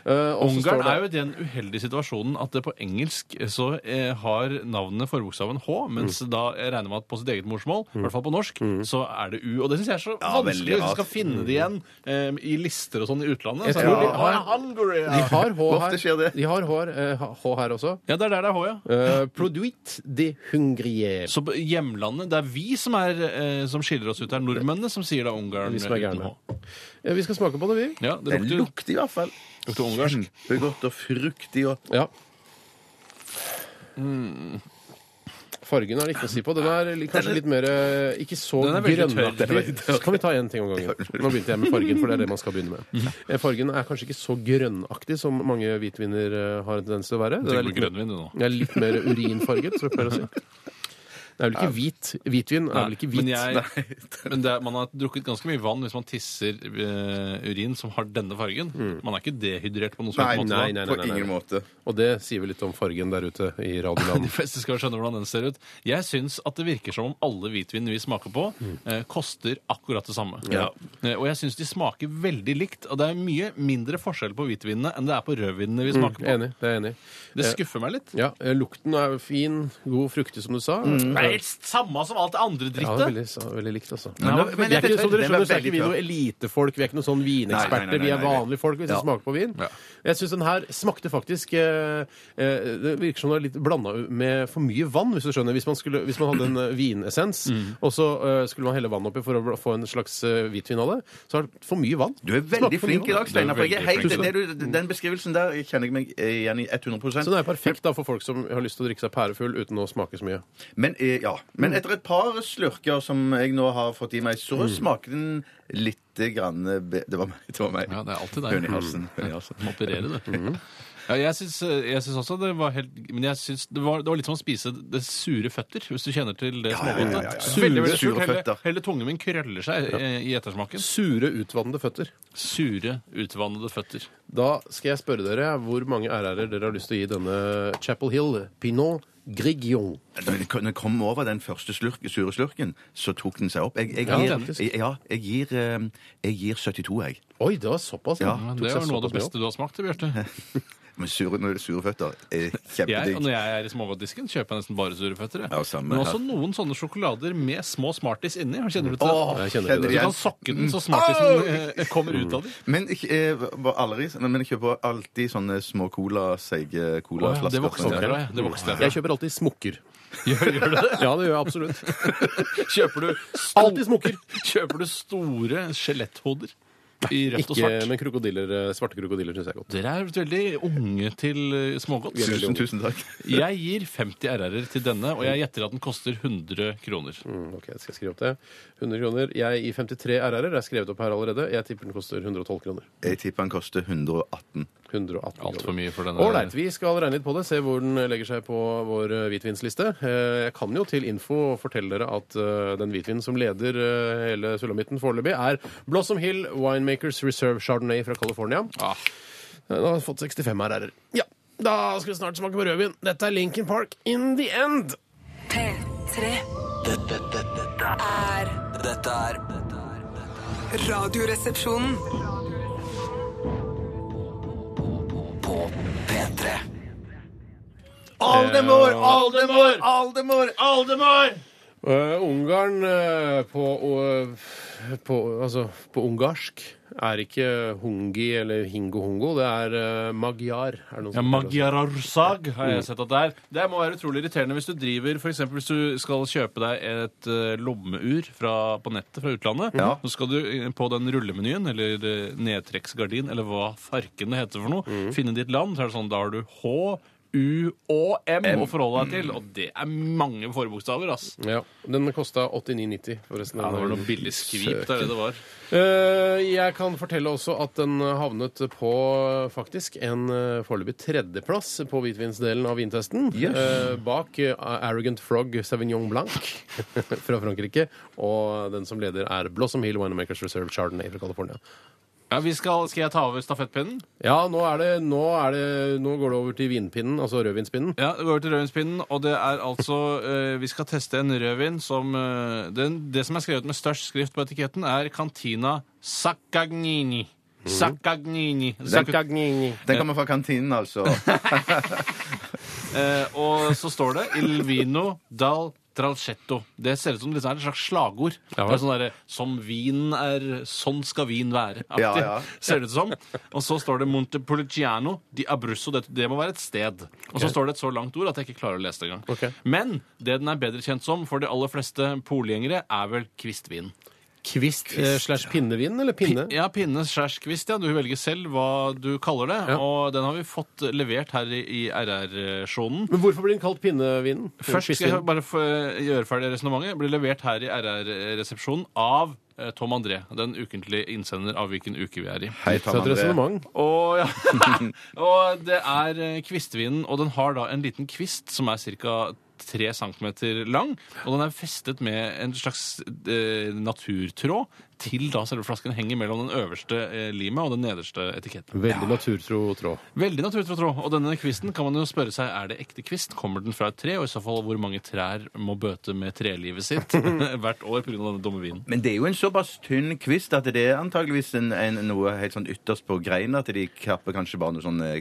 Eh, og så står
Ungarn
det-
er jo i den uheldige situasjonen at det på engelsk så eh, har navnet forbokstaven H, mens
Mm.
da jeg regner med at på sitt eget morsmål, i hvert fall på norsk, så er det U. Og det syns jeg er så
Ja, veldig
vanskelig hvis
rart.
du skal finne det igjen eh, i lister og sånn i utlandet.
Jeg
Så,
tror de
ja.
har-
Ah, Hungary,
De
ja.
har H
Ofte
her,
skjer det.
de har hår, eh, ha- H her også.
ja, det er der det er H, ja.
Eh, Produit de Hungrier.
Så på hjemlandet, det er vi som, er, eh, som skiller oss ut, det er nordmennene som sier da Ungarn.
Vi som er
uten
gærne.
H.
Ja, vi skal smake på det, vi.
Ja, det
Den
lukter,
lukter i hvert fall
lukter ungarsk.
Det er godt og fruktig og
Ja. Hmm. Fargen er det ikke noe å si på. Den er li- kanskje litt mer eh, ikke så
Den er veldig tørr.
grønnaktig. Så Kan vi ta én ting om gangen? Nå begynte jeg med fargen, for det er det man skal begynne med. Eh, Fargen er kanskje ikke så grønnaktig som mange hvitviner eh, har en tendens til å være. Den er
Tenk på
litt,
grønnvin, du nå.
den er litt mer urinfarget, som jeg pleier å si. Det er vel ikke hvit. Hvitvin er vel ikke hvit.
Men, jeg, men det, er- man har drukket ganske mye vann hvis man tisser eh, urin som har denne fargen. Man er ikke dehydrert på noen
Nei,
slags måte.
Mm. nei, nei,
da.
nei,
På
nei,
ingen
nei.
måte.
Og det sier vel litt om fargen der ute i radioland.
De fleste skal skjønne hvordan den ser ut. Jeg syns at det virker som om alle hvitvin vi smaker på,
Mm.
eh, koster akkurat det samme. Eh, og jeg syns de smaker veldig likt. Og det er mye mindre forskjell på hvitvinene enn det er på rødvinene
Mm,
vi smaker på.
Enig. Eh, Det er jeg enig. i.
Det skuffer meg litt.
Ja, eh, Lukten er fin, god fruktig, som du sa.
Nei, er helt samme som alt det
Ja,
andre
det er
drittet.
veldig, så, veldig likt, altså.
Nei, men-
vi er ikke, som dere
den var
skjønner, så er ikke vi
veldig
noe elitefolk. Vi er ikke noen sånn
Nei, nei, nei,
vineksperter.
nei,
Vi er
nei.
vanlige folk hvis vi
Ja.
smaker på vin.
Ja.
Jeg syns den her smakte faktisk eh, eh, Det virker som den er litt blanda med for mye vann, hvis du skjønner. Hvis man, skulle, hvis man hadde en eh, vinessens,
Mm.
og så eh, skulle man helle vann oppi for å bl- få en slags eh, hvitvin av det, så er det for mye vann.
Du er veldig
Smaker for mye
flink i
vann.
dag, Steinar. for jeg er
Du er
helt-
veldig flink. Sånn
det du- Den beskrivelsen der kjenner jeg meg igjen i 100
Så den er perfekt da for folk som har lyst til å drikke seg pærefull uten å smake så mye.
Men, eh, ja. Men etter et par slurker som jeg nå har fått i meg, så
Mm.
smaker den litt grann be- Det var meg. Det var meg.
Ja, det er alltid deg. Mm.
Høne i halsen. høne i halsen.
Du må operere, du. Ja, jeg syns jeg syns også det var helt Men jeg syns det, var- det var litt som å spise det sure føtter, hvis du kjenner til det
ja, ja,
smågodtet.
ja, ja.
Sure, veldig, veldig
Sure
surt. Hele,
føtter.
hele tungen min krøller seg eh, i ettersmaken.
Sure, utvannede føtter.
Sure, utvannede føtter.
Da skal jeg spørre dere hvor mange RR-er dere har lyst til å gi denne Chapel Hill Pinot Grignon.
Da jeg kom- når jeg kom over den første slurk, sure slurken, så tok den seg opp. Jeg, jeg,
Ja,
gir,
faktisk.
jeg, ja, jeg, gir, eh, jeg gir 72, jeg.
Oi, det var såpass,
Ah,
ja.
Ja,
Tok
Det
seg
er jo noe av
såpass
det
mye
beste du har smakt, Bjarte.
Men sure, når det er sure føtter er
Jeg, og
kjempedigg.
når jeg er i smågodtdisken, kjøper jeg nesten bare sure føtter. jeg.
Ja, samme
Men
her.
også noen sånne sjokolader med små Smarties inni. Kjenner du til
Åh,
det?
Jeg kjenner til
Du
det.
kan sokke den,
Mm.
så Smartiesen eh, kommer ut av den.
Men jeg, eh, var aldri, nei, men jeg kjøper alltid sånne små cola, seige colaflasker.
det vokste jeg
Sånn.
fra. jeg. Det vokste
Jeg
jeg fra.
kjøper alltid smokker.
Gjør, gjør du det?
Ja, det gjør jeg absolutt.
Kjøper du,
Alltid smokker.
kjøper du store skjeletthoder i rødt og
Ikke
svart?
men krokodiller, eh, svarte krokodiller syns jeg er godt.
Dere er veldig unge til eh, smågodt.
Tusen, tusen takk.
Jeg gir 50 RR-er til denne, og jeg gjetter at den koster 100 kroner.
Mm, ok, skal jeg skrive opp det. 100 kroner. Jeg gir 53 RR-er. Det er skrevet opp her allerede. Jeg tipper den koster 112 kroner.
Jeg tipper han koster 118.
118
Alt for
kroner.
mye for denne.
Ålreit. Vi skal regne litt på det, se hvor den legger seg på vår eh, hvitvinsliste. Eh, Jeg kan jo til info fortelle dere at eh, den hvitvinen som leder eh, hele sulamitten foreløpig, er Blossom Hill Winemakers Reserve Chardonnay fra California.
Ah,
Den har fått 65 RR-er. Ja. Da skal vi snart smake på rødvin. Dette er Lincoln Park in the end.
P3
Dette, dette, dette,
er
er- dette er dette er- dette er
Radioresepsjonen.
På P3
Aldemor,
Eh,
Aldemor, Aldemor!
Aldemar!
Eh, Ungarn eh, på, og, eh, på Altså, på ungarsk er ikke hungi eller hingo-hongo. Det er eh, magyar. Er det noen
Ja,
som kaller det.
Magyarsag har jeg sett at det er. Det må være utrolig irriterende hvis du driver, for eksempel hvis du skal kjøpe deg et eh, lommeur fra, på nettet fra utlandet, så skal du eh, på den rullemenyen, eller eh, nedtrekksgardin, eller hva farken det heter for noe, finne ditt land, så er det sånn, da har du H, U og M, å forholde deg til, og det er mange forbokstaver, ass.
Ja, Den kosta 89,90, forresten.
Ja, det var noe billig skvip, det er det det var.
Eh, jeg kan fortelle også at den havnet på eh, faktisk en eh, foreløpig tredjeplass på hvitvinsdelen av vintesten.
Yes.
Eh, bak eh, Arrogant Frog Sauvignon Blanc fra Frankrike. Og den som leder er Blossom Hill Winemakers Reserve Chardonnay fra California.
Ja, vi skal, skal jeg ta over stafettpinnen?
Ja, nå, er det, nå, er det, nå går det over til vinpinnen, altså rødvinspinnen.
Ja, det går over til rødvinspinnen, og det er altså eh, Vi skal teste en rødvin som eh, den, Det som er skrevet med størst skrift på etiketten, er Cantina Saccagnini. Saccagnini. Sacca-
Den kommer fra kantinen, altså.
eh, og så står det Il vino dal tralcetto. Det ser ut som det er et slags slagord.
Ja,
det
vel.
er sånn derre Som vinen er, sånn skal vin være. Aktig,
Ja, ja.
ser det ut som. Og så står det Montepulciano di Abruzzo. Det, det må være et sted. Og så står det et så langt ord at jeg ikke klarer å lese det engang.
Ok.
Men det den er bedre kjent som for de aller fleste polgjengere, er vel kvistvin.
Kvist eh, slash pinnevin, eller pinne?
Ja, pinne slash kvist, ja. Du velger selv hva du kaller det.
Ja.
Og den har vi fått levert her i, i RR-sjonen.
Men hvorfor blir den kalt pinnevinen?
Først skal jeg bare få eh, gjøre ferdig resonnementet. Blir levert her i RR-resepsjonen av eh, Tom André, den ukentlige innsender av hvilken uke vi er i.
Hei,
Så et resonnement.
Og, ja. og det er eh, kvistvinen, og den har da en liten kvist som er ca. 3 cm lang, og den er festet med en slags eh, naturtråd til da selve flasken henger mellom den øverste eh, limet og den nederste etiketten.
Veldig naturtro tråd.
Veldig naturtro tråd. Og denne kvisten kan man jo spørre seg er det ekte kvist. Kommer den fra et tre? Og i så fall hvor mange trær må bøte med trelivet sitt hvert år pga. denne dumme vinen?
Men det er jo en såpass tynn kvist at det er antageligvis en, en, noe helt sånn ytterst på greinen at de kapper kanskje bare noe sånn eh,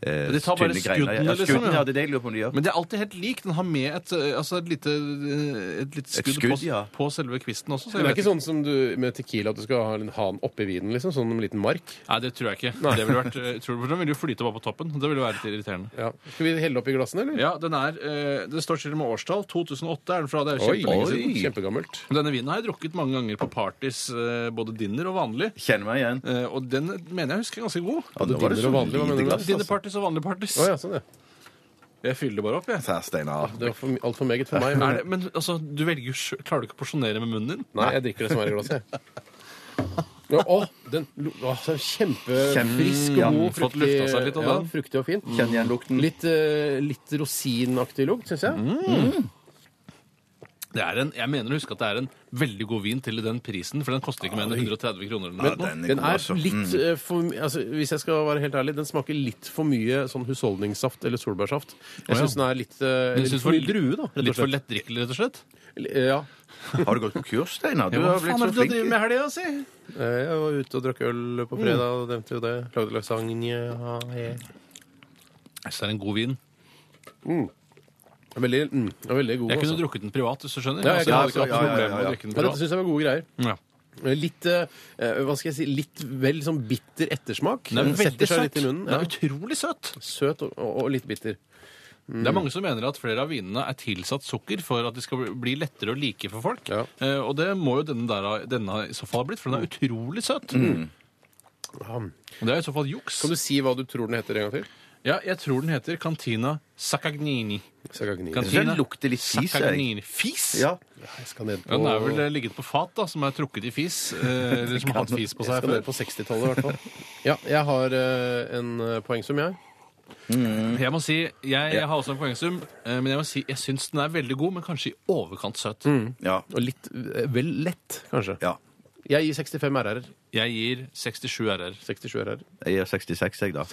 eh,
De tar bare
tynne greiner.
skuddene,
Ja,
liksom,
skuddene,
ja.
ja, det er det jeg lurer på om de gjør.
Men det er alltid helt lik. Den har med et, eh, altså et lite, eh, et lite skudd,
skudd,
på,
ja.
på selve kvisten også. Så
Men det
jeg
er
vet
ikke sånn som du med tequila at du skal ha en han oppi vinen, liksom? Sånn en liten mark?
Nei, det tror jeg ikke. Det ville vært, jeg tror Den ville jo flyte bare på toppen. Det ville jo være litt irriterende.
Ja. Skal vi helle oppi glassene, eller?
Ja, den er, eh, Det står til og med årstall. 2008 er den fra. Det er jo
Oi,
kjempelenge siden.
Kjempegammelt.
Denne vinen har jeg drukket mange ganger på parties, eh, både dinner og vanlig.
Kjenner meg igjen.
Eh, Og den mener jeg husker ganske god.
Ja, nå var det
dinner og vanlig, hva mener
solide
du da?
glass, altså.
Dinnerparties og vanlige parties.
Å ja, sånn, ja.
Jeg fyller det bare opp, jeg.
Sa Steinar.
Det var altfor meget for meg.
Er
Men...
det, men altså, du velger jo sjøl. Klarer du ikke å porsjonere med munnen din?
Nei, jeg drikker det som er i glasset. jeg. Ja, å, den lo- å, så kjempefrisk
Ja,
og god.
fått
fruktig-
lufta seg litt av
ja,
den. Mm.
fruktig og fin.
Kjenner igjen lukten.
Litt, eh, litt rosinaktig lukt, syns jeg.
Mm. Det er en, jeg mener å huske at det er en veldig god vin til den prisen, for den koster ikke mer enn 130 kroner.
Ja,
Eller noe.
den er
Den
god,
er
altså.
litt
Mm.
eh, for my- altså, Hvis jeg skal være helt ærlig, den smaker litt for mye sånn husholdningssaft eller solbærsaft.
Å,
Jeg
ja.
syns den er litt eh, eller
synes
litt for
var
mye drue, da. Rett
Litt
og
for
slett.
lettdrikkelig, rett og slett.
eh, Ja.
altså. Har du gått på kurs, Steinar? Du
Ja, hva
har
faen
blitt
er
så
det du
flink.
driver med i helga, si?
Eh, Jeg var ute og drakk øl på fredag, og nevnte jo det. Lagde lasagne. ha, he.
Jeg synes det er en god vin.
Veldig, mm, den er veldig god.
Jeg kunne
altså.
drukket den privat, hvis du
Ja,
skjønner.
jeg
Altså,
kunne
hadde
også-
ikke hatt noe
ja, ja,
problem med
ja,
å
ja.
drikke
Men
den
dette
privat.
syns jeg var gode greier.
Ja.
Eh, Litt, eh, eh, hva skal jeg si, litt vel sånn bitter ettersmak.
Den er
Eh,
veldig
Setter seg
søt.
litt i munnen.
Den er
Ja.
utrolig søt.
Søt og, og, og litt bitter. Mm.
Det er mange som mener at flere av vinene er tilsatt sukker for at de skal bli- bli lettere å like for folk.
Ja. Mm.
Eh, og det må jo denne, der, ha- denne ha i så fall ha blitt, for den er utrolig søt. Og Det er i så fall juks.
Kan du si hva du tror den heter en gang til?
Ja, jeg tror den heter Cantina Saccagnini.
Sakagnini.
Kan-
Den lukter litt fis, jeg.
Saccagnini. Fis?
Ja.
Jeg skal ned på,
Den er vel eh, ligget på fat, da, som er trukket i fis. eh, Eller som har hatt fis på
jeg
seg
skal ned
før.
på 60-tallet, i hvert fall. Ja, jeg har eh, en eh, poengsum, jeg.
Jeg må si, jeg, jeg har også en poengsum, eh, men jeg må si, jeg syns den er veldig god, men kanskje i overkant søt.
Mm.
Ja.
Og litt eh, vel lett, kanskje.
ja.
Jeg gir 65 RR-er.
Jeg gir 67 RR.
67 RR.
Jeg gir 66, jeg, da.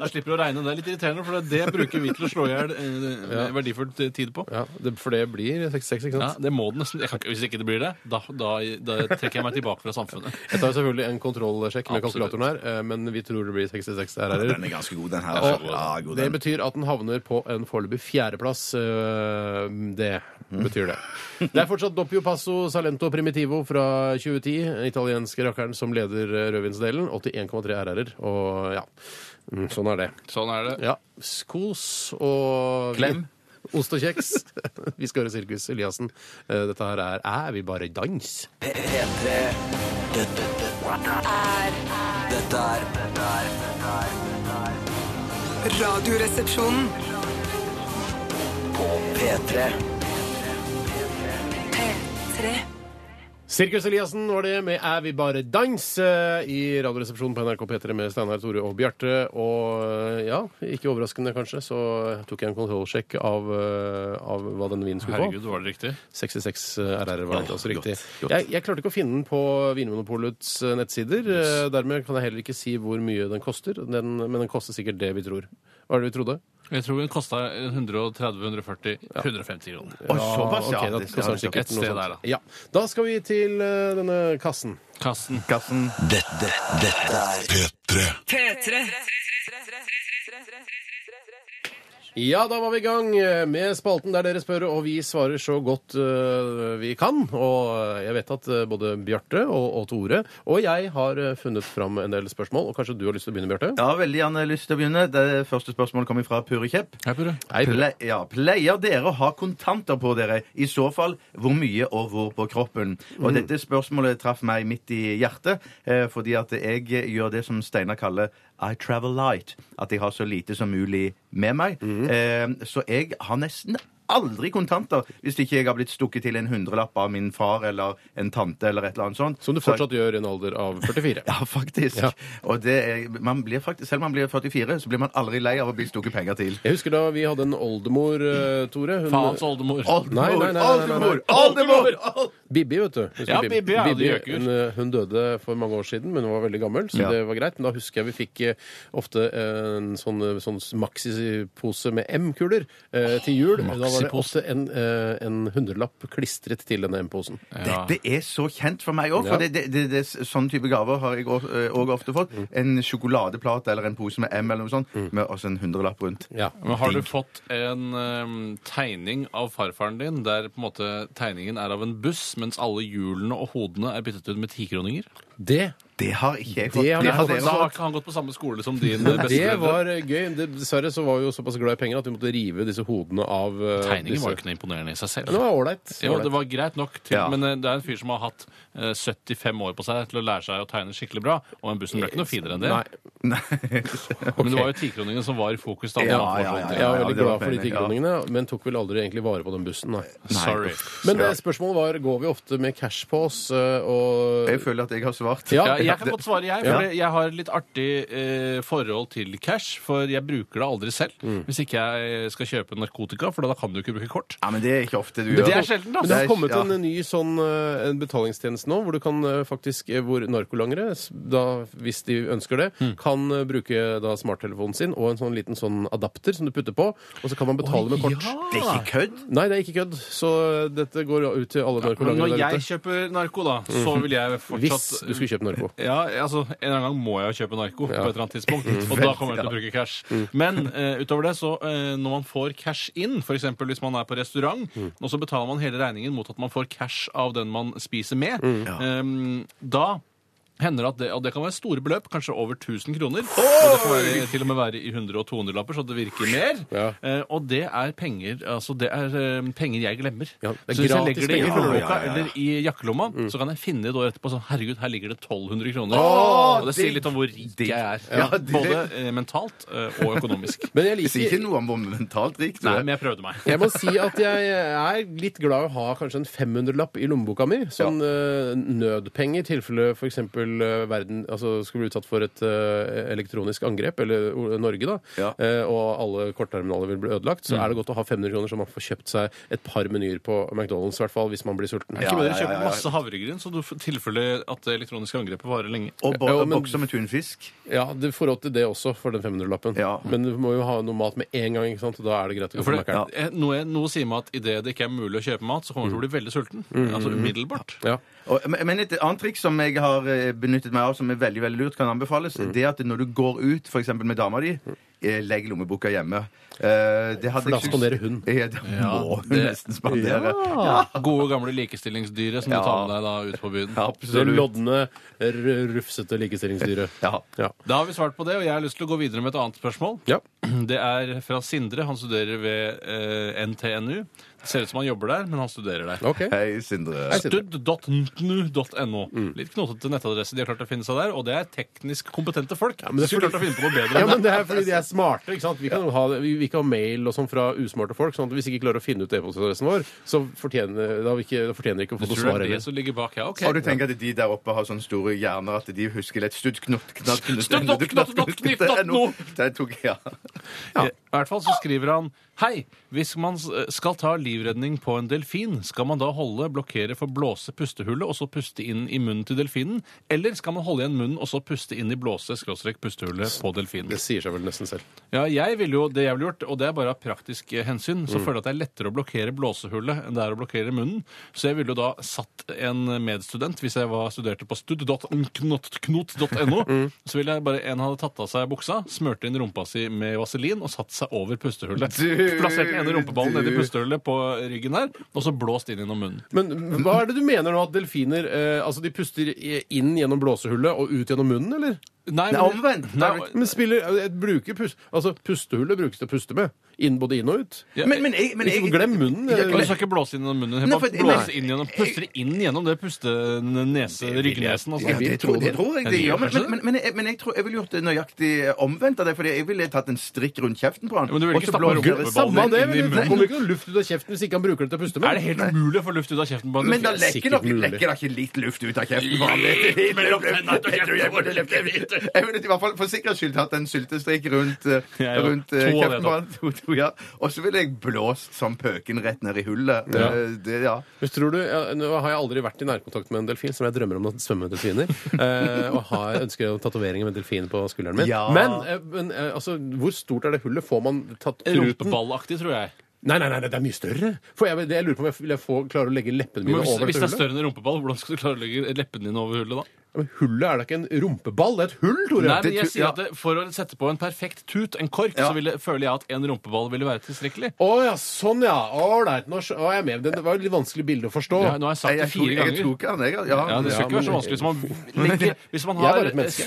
Da slipper du å regne. Det er litt irriterende, for det bruker vi til å slå i hjel eh, verdifull tid på.
Ja, det, for det blir 66, ikke
Ja,
sant?
det må det nesten. Jeg kan ikke, hvis ikke det blir det, da, da, da trekker jeg meg tilbake fra samfunnet.
Jeg tar selvfølgelig en kontrollsjekk med
Absolutt.
kalkulatoren her, eh, men vi tror det blir 66 RR-er.
Den er ganske god, den her. altså.
Og
Ja, god,
Eh, det
den.
betyr at den havner på en foreløpig fjerdeplass. eh, Det betyr det. Det er fortsatt Doppio Passo Salento Primitivo fra 2010. den Italienske rakkeren som leder eh, rødvinsdelen. 81,3 RR-er. Og ja, mm, sånn er det.
Sånn er det.
Ja, Kos og
Klem.
Ost og kjeks. vi skal høre Sirkus Eliassen. Eh, Dette her er Er vi bare dans?
P- P3 Dette Dette er Dette er
Radioresepsjonen.
På P3
P3.
Sirkus Eliassen var det med Er vi bare dans eh, i Radioresepsjonen på NRK P3 med Steinar Tore og Bjarte. Og eh, ja, ikke overraskende kanskje, så tok jeg en kontrollsjekk av, eh, av hva denne vinen skulle
Herregud,
få.
var det riktig?
66 RR var det
Ja,
altså
godt,
riktig.
godt.
Jeg, jeg klarte ikke å finne den på Vinmonopolets eh, nettsider. eh, Dermed kan jeg heller ikke si hvor mye den koster, den, men den koster sikkert det vi tror. Hva er det vi trodde?
Jeg tror den kosta 130-140 150 kroner.
Å, såpass, ja.
ok, da
Det
koster den
skal jeg ha.
sikkert
Et sted
noe sånt.
der, da.
Ja. Da skal vi til eh, denne kassen.
Kassen.
Kassen.
Dette Dette er
P3.
Ja, da var vi i gang eh, med spalten der dere spør, og vi svarer så godt øh, vi kan. Og jeg vet at øh, både Bjarte og, og Tore og jeg har øh, funnet fram en del spørsmål. Og kanskje du har lyst til å begynne, Bjarte?
Ja, veldig gjerne lyst til å begynne. Det første spørsmålet kommer fra Pure Kjepp.
Hei, Purre.
Hei, Bjarte.
Ple ja, pleier dere å ha kontanter på dere? I så fall hvor mye og hvor på kroppen?
Mm.
Og dette spørsmålet traff meg midt i hjertet, eh, fordi at jeg gjør det som Steinar kaller I travel light. At jeg har så lite som mulig med meg.
Mm.
Eh, så jeg har nesten aldri kontanter hvis ikke jeg har blitt stukket til en hundrelapp av min far eller en tante eller et eller annet sånt.
Som du
Så-
fortsatt gjør i en alder av 44.
ja, faktisk.
Ja.
Og det er, man blir faktisk, selv om man blir 44, så blir man aldri lei av å bli stukket penger til.
Jeg husker da vi hadde en oldemor, øh, Tore. Hun,
Faens oldemor.
Oldemor,
Nei, nei, nei, nei, nei, nei.
oldemor, oldemor!
Bibi, vet du. Husker
Ja,
du
Bibi, ja, det gjør ikke
hun, hun døde for mange år siden, men hun var veldig gammel, så
Ja.
det var greit. Men da husker jeg vi fikk eh, ofte en sånn, eh, sånn maxipose med M-kuler eh, til jul. da var det
maxipose.
ofte en, eh, en hundrelapp klistret til denne M-posen.
Dette er så kjent for meg òg,
Ja.
for det, det, det, det, sånn type gaver har jeg òg ofte fått.
Mm.
En sjokoladeplate eller en pose med M eller noe sånt, med også en hundrelapp rundt.
Ja.
Men har du fått en ehm, tegning av farfaren din der på en måte tegningen er av en buss, mens alle hjulene og hodene er byttet ut med tikroninger?
Det
Det har ikke jeg fått.
Det har
Da
vi
har
fått.
dere
har ikke han gått på samme skole som din eh,
Det
besteforeldre.
var eh, gøy. Det, dessverre så var vi jo såpass glad i penger at vi måtte rive disse hodene av eh,
Tegningen
disse-
var jo ikke noe imponerende i seg selv.
Det var ålreit.
Jo, det var greit nok, til,
Ja.
men eh, det er en fyr som har hatt eh, 75 år på seg til å lære seg å tegne skikkelig bra, og den bussen ble ikke noe finere enn det.
Nei.
Men det var jo tikroningene som var i fokus da.
Ja, ja, ja,
Jeg
ja.
var veldig
det var
glad for de
meningen,
tikroningene, men tok vel aldri egentlig vare på den bussen. Nei.
Sorry.
Men eh, spørsmålet var går vi ofte med cash på oss eh, og
Jeg føler at jeg har svart.
Ja,
Ja, jeg kan godt svare, jeg. For jeg har litt artig eh, forhold til cash. For jeg bruker det aldri selv. Hvis ikke jeg skal kjøpe narkotika, for da kan du ikke bruke kort.
Ja, men det er ikke ofte du
Det
gjør
er sjelden,
Men
altså.
det
Det
har
er-
kommet
ja.
en ny sånn eh, en betalingstjeneste nå, hvor du kan eh, faktisk, eh, hvor narkolangere, s- da, hvis de ønsker det, kan eh, bruke da smarttelefonen sin og en sånn liten sånn adapter som du putter på, og så kan man betale med kort.
Det er ikke kødd.
Nei, det er ikke kødd. Så eh, dette går ut til alle
Men når
narkolangere der
jeg
ute.
kjøper narko, da, så vil jeg
Hvis
fortsatt
du skulle kjøpe narko. Mm.
Ja, altså, En eller annen gang må jeg jo kjøpe narko. på et eller annet tidspunkt, Og da kommer jeg til å bruke cash. Men eh, utover det, så eh, når man får cash inn, f.eks. hvis man er på restaurant,
Mm.
og så betaler man hele regningen mot at man får cash av den man spiser med,
Mm.
eh, da hender det at det, og det kan være store beløp, kanskje over 1000 kroner. Og det kan være, til og med være i 100- og 200-lapper, så det virker mer.
Ja.
Eh, og det er penger altså det er eh, penger jeg glemmer.
Ja, det er
så hvis jeg
gratis
legger det i
penger.
lommeboka
Ja, ja, ja, ja.
eller i jakkelomma, så kan jeg finne det et år etterpå sånn Herregud, her ligger det 1200 kroner. og det sier litt om hvor rik
digg.
jeg er.
Ja, digg.
Både eh, mentalt eh, og økonomisk.
Men jeg
Det sier
liker
ikke noe om hvor mentalt rik du
Nei,
er.
men jeg prøvde meg.
Jeg må si at jeg er litt glad i å ha kanskje en 500-lapp i lommeboka mi. Sånn eh, nødpenger i tilfelle f.eks. Uh, verden altså, skulle bli utsatt for et eh, elektronisk angrep, eller O- Norge, da,
Ja.
eh, og alle kortterminaler vil bli ødelagt, så er det godt å ha 500 kroner så man får kjøpt seg et par menyer på McDonald's, i hvert fall hvis man blir sulten.
Ikke
Ja,
bedre å
ja, ja,
kjøpe
ja.
masse havregryn, så du får tilfelle at det elektroniske angrepet varer lenge.
Og bo
Ja, men-
bokser med tunfisk.
Ja, det får råd til det også, for den 500-lappen.
Ja.
Men du må jo ha noe mat med en gang, ikke sant? og da er det greit å gå
For
på
det,
Mækkern.
eh, noe, noe sier meg at idet det ikke er mulig å kjøpe mat, så kommer du til å bli veldig sulten.
Mm.
Altså umiddelbart.
Ja.
Og, men- men et annet triks som jeg har eh, benyttet meg av, som er veldig veldig lurt, kan anbefales,
Mm.
det er at når du går ut f.eks. med dama di, eh, legg lommeboka hjemme. Eh, det hadde
For da
jeg
spanderer
synes-
hun.
Ja, det må hun
det-
nesten spandere.
Gode, gamle likestillingsdyret som
Ja.
du tar med deg da ut på byen.
Ja,
Det
absolutt.
lodne, r- rufsete likestillingsdyret.
Ja.
Ja.
Da har vi svart på det, og jeg har lyst til å gå videre med et annet spørsmål.
ja.
Det er fra Sindre. Han studerer ved eh, NTNU. Det ser ut som han jobber der, men han studerer der.
OK.
Hei, Sindre.
Hei, Sindre. Mm.
Stud.ntnu.no. Litt knotete nettadresse de har klart å finne seg der, og det er teknisk kompetente folk.
men det er
Skulle
fordi-
klart å finne på noe bedre
Ja,
enn det.
men det er fordi de er smarte. ikke sant? Vi kan ha, vi, vi kan ha mail og sånn fra usmarte folk. sånn at Hvis vi ikke klarer å finne ut e-postadressen vår, så fortjener da, har vi ikke, da fortjener vi ikke å få
Du
noe
tror
svar
det er det
heller.
som ligger bak her? Ok.
Og du tenker at de der oppe har sånne store hjerner at de husker litt studd, knott, knatt, knut,
Studd, knott, knott, knott, knitt, knatt, no.
Det tok, ja.
I hvert fall så skriver han Hei, hvis man s- eh, skal ta livredning på en delfin, skal man da holde, blokkere for blåse pustehullet og så puste inn i munnen til delfinen? Eller skal man holde igjen munnen og så puste inn i blåse skråstrek pustehullet på delfinen?
Det sier seg vel nesten selv.
Ja, jeg ville jo det jeg ville gjort, og det er bare av praktiske hensyn,
Mm.
så føler jeg at det er lettere å blokkere blåsehullet enn det er å blokkere munnen. Så jeg ville jo da satt en medstudent, hvis jeg var studerte på stud.knot.no,
Mm.
så ville jeg bare en hadde tatt av seg buksa, smørte inn rumpa si med vaselin og satt seg over pustehullet.
Du-
Plassert den ene rumpeballen nedi
du-
pustehullet på ryggen der, og så blåst inn gjennom munnen.
Men hva er det du mener nå? At delfiner eh, altså de puster i- inn gjennom blåsehullet og ut gjennom munnen, eller?
Nei,
omvendt.
Nei,
Men spiller, eh, bruker pus, altså Pustehullet brukes til å puste med. Inn både inn og ut.
ja,
Men, men jeg, men jeg
Ikke glem munnen.
Men Du
eller?
skal ikke blåse inn gjennom munnen.
Nei,
Bare
for-
blåse
nei.
inn gjennom, puster inn gjennom det puste nese, ryggnesen. altså. og
Ja,
sånt.
det, tror, det tror jeg
Ja,
de
det
gjør,
gjør
men,
kanskje
men, men, jeg, men jeg tror jeg ville gjort det nøyaktig omvendt av det. Fordi jeg ville tatt en strikk rundt kjeften på han.
Ja, men du ville
og så
ikke stappe
blåser jeg
rumpeballen
Samme
sammen
det,
inn
men
i
det
munnen.
kommer ikke noe luft ut av kjeften hvis ikke han bruker det til å puste med.
Er det helt umulig å få luft ut av kjeften på en
Men da
delfin?
lekker
sikkert
nok-
mulig.
lekker da ikke litt luft ut av kjeften på han? Det- det- det- det- det- det- det- det- det- det- det- det- det- Jeg ville i hvert fall for sikkerhets skyld hatt en syltestrikk rundt, eh,
Ja, ja.
rundt eh,
To av det,
kjeften på
da.
han. To, to, ja. Og så ville jeg blåst som pøken rett ned i hullet.
Ja.
Eh, Det, ja.
Hvis tror du, ja, nå har jeg aldri vært i nærkontakt med en delfin, som jeg drømmer om å svømme med delfiner. Eh, og har, ønsker jo tatoveringer med delfin på skulderen min.
Ja.
Men, eh, men eh, altså, hvor stort er det hullet? Får man tatt truten?
Rumpeballaktig, tror jeg.
Nei, nei, nei, det er mye større. For jeg, jeg lurer på om jeg, vil jeg få, klarer å legge leppene
Men
mine
hvis,
over
hvis
til
det er
hullet.
større enn en rumpeball, hvordan skal du klare å legge leppene dine over hullet da?
Ja, Men hullet er da ikke en rumpeball? Det er et hull, Tore!
Nei,
Det-
men jeg
tu-
sier
ja.
at det, For å sette på en perfekt tut, en kork,
Ja.
så ville, føler jeg at en rumpeball ville være tilstrekkelig.
Å ja, sånn ja! Ålreit. Nå skj- å, jeg er med. Det var jo et litt vanskelig bilde å forstå.
Ja, nå har jeg
Jeg,
sagt det
jeg,
fire
tok- jeg
ganger.
tok han, jeg. Ja.
Ja, Det skal ikke
Ja,
være så
men-
vanskelig. Hvis man, legger, hvis man
Jeg er
har
bare et menneske.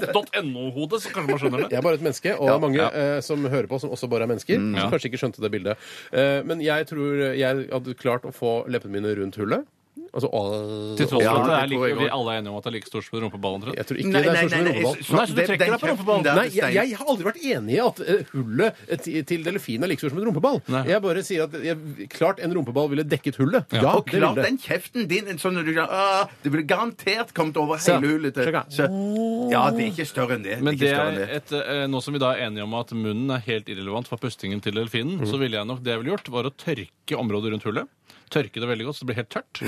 studd.knop.no-hodet, så kanskje man skjønner det.
Jeg er bare et menneske, og det er mange eh, som hører på, som også bare er mennesker.
Mm, ja.
Som kanskje ikke skjønte det bildet. Eh, men jeg tror jeg hadde klart å få leppene mine rundt hullet. Altså å-
Til tross
Ja,
for at det er
det tror jeg
like, vi
også.
alle er enige om at det er like stort som en rumpeball. omtrent.
Jeg tror ikke det er sånn som en rumpeball.
Nei, så du trekker deg på rumpeballen.
Nei, jeg, jeg har aldri vært enig i at eh, hullet eh, ti- til delfinen er like stort som en rumpeball.
Nei.
Jeg bare sier at jeg, klart en rumpeball ville dekket hullet. Ja,
og
det
klart
ville det.
den kjeften din en sånn når du, kan- ah, Det ville garantert kommet over
Se.
hele hullet. Til.
Sjekk her.
Så, ja, det er ikke større enn det.
Men
ikke
det
større
er
enn det.
et, eh, nå som vi da er enige om at munnen er helt irrelevant for pustingen til delfinen,
Mhm.
så ville jeg nok det jeg ville gjort, var å tørke området rundt hullet. Tørke det veldig godt, så det blir helt tørt.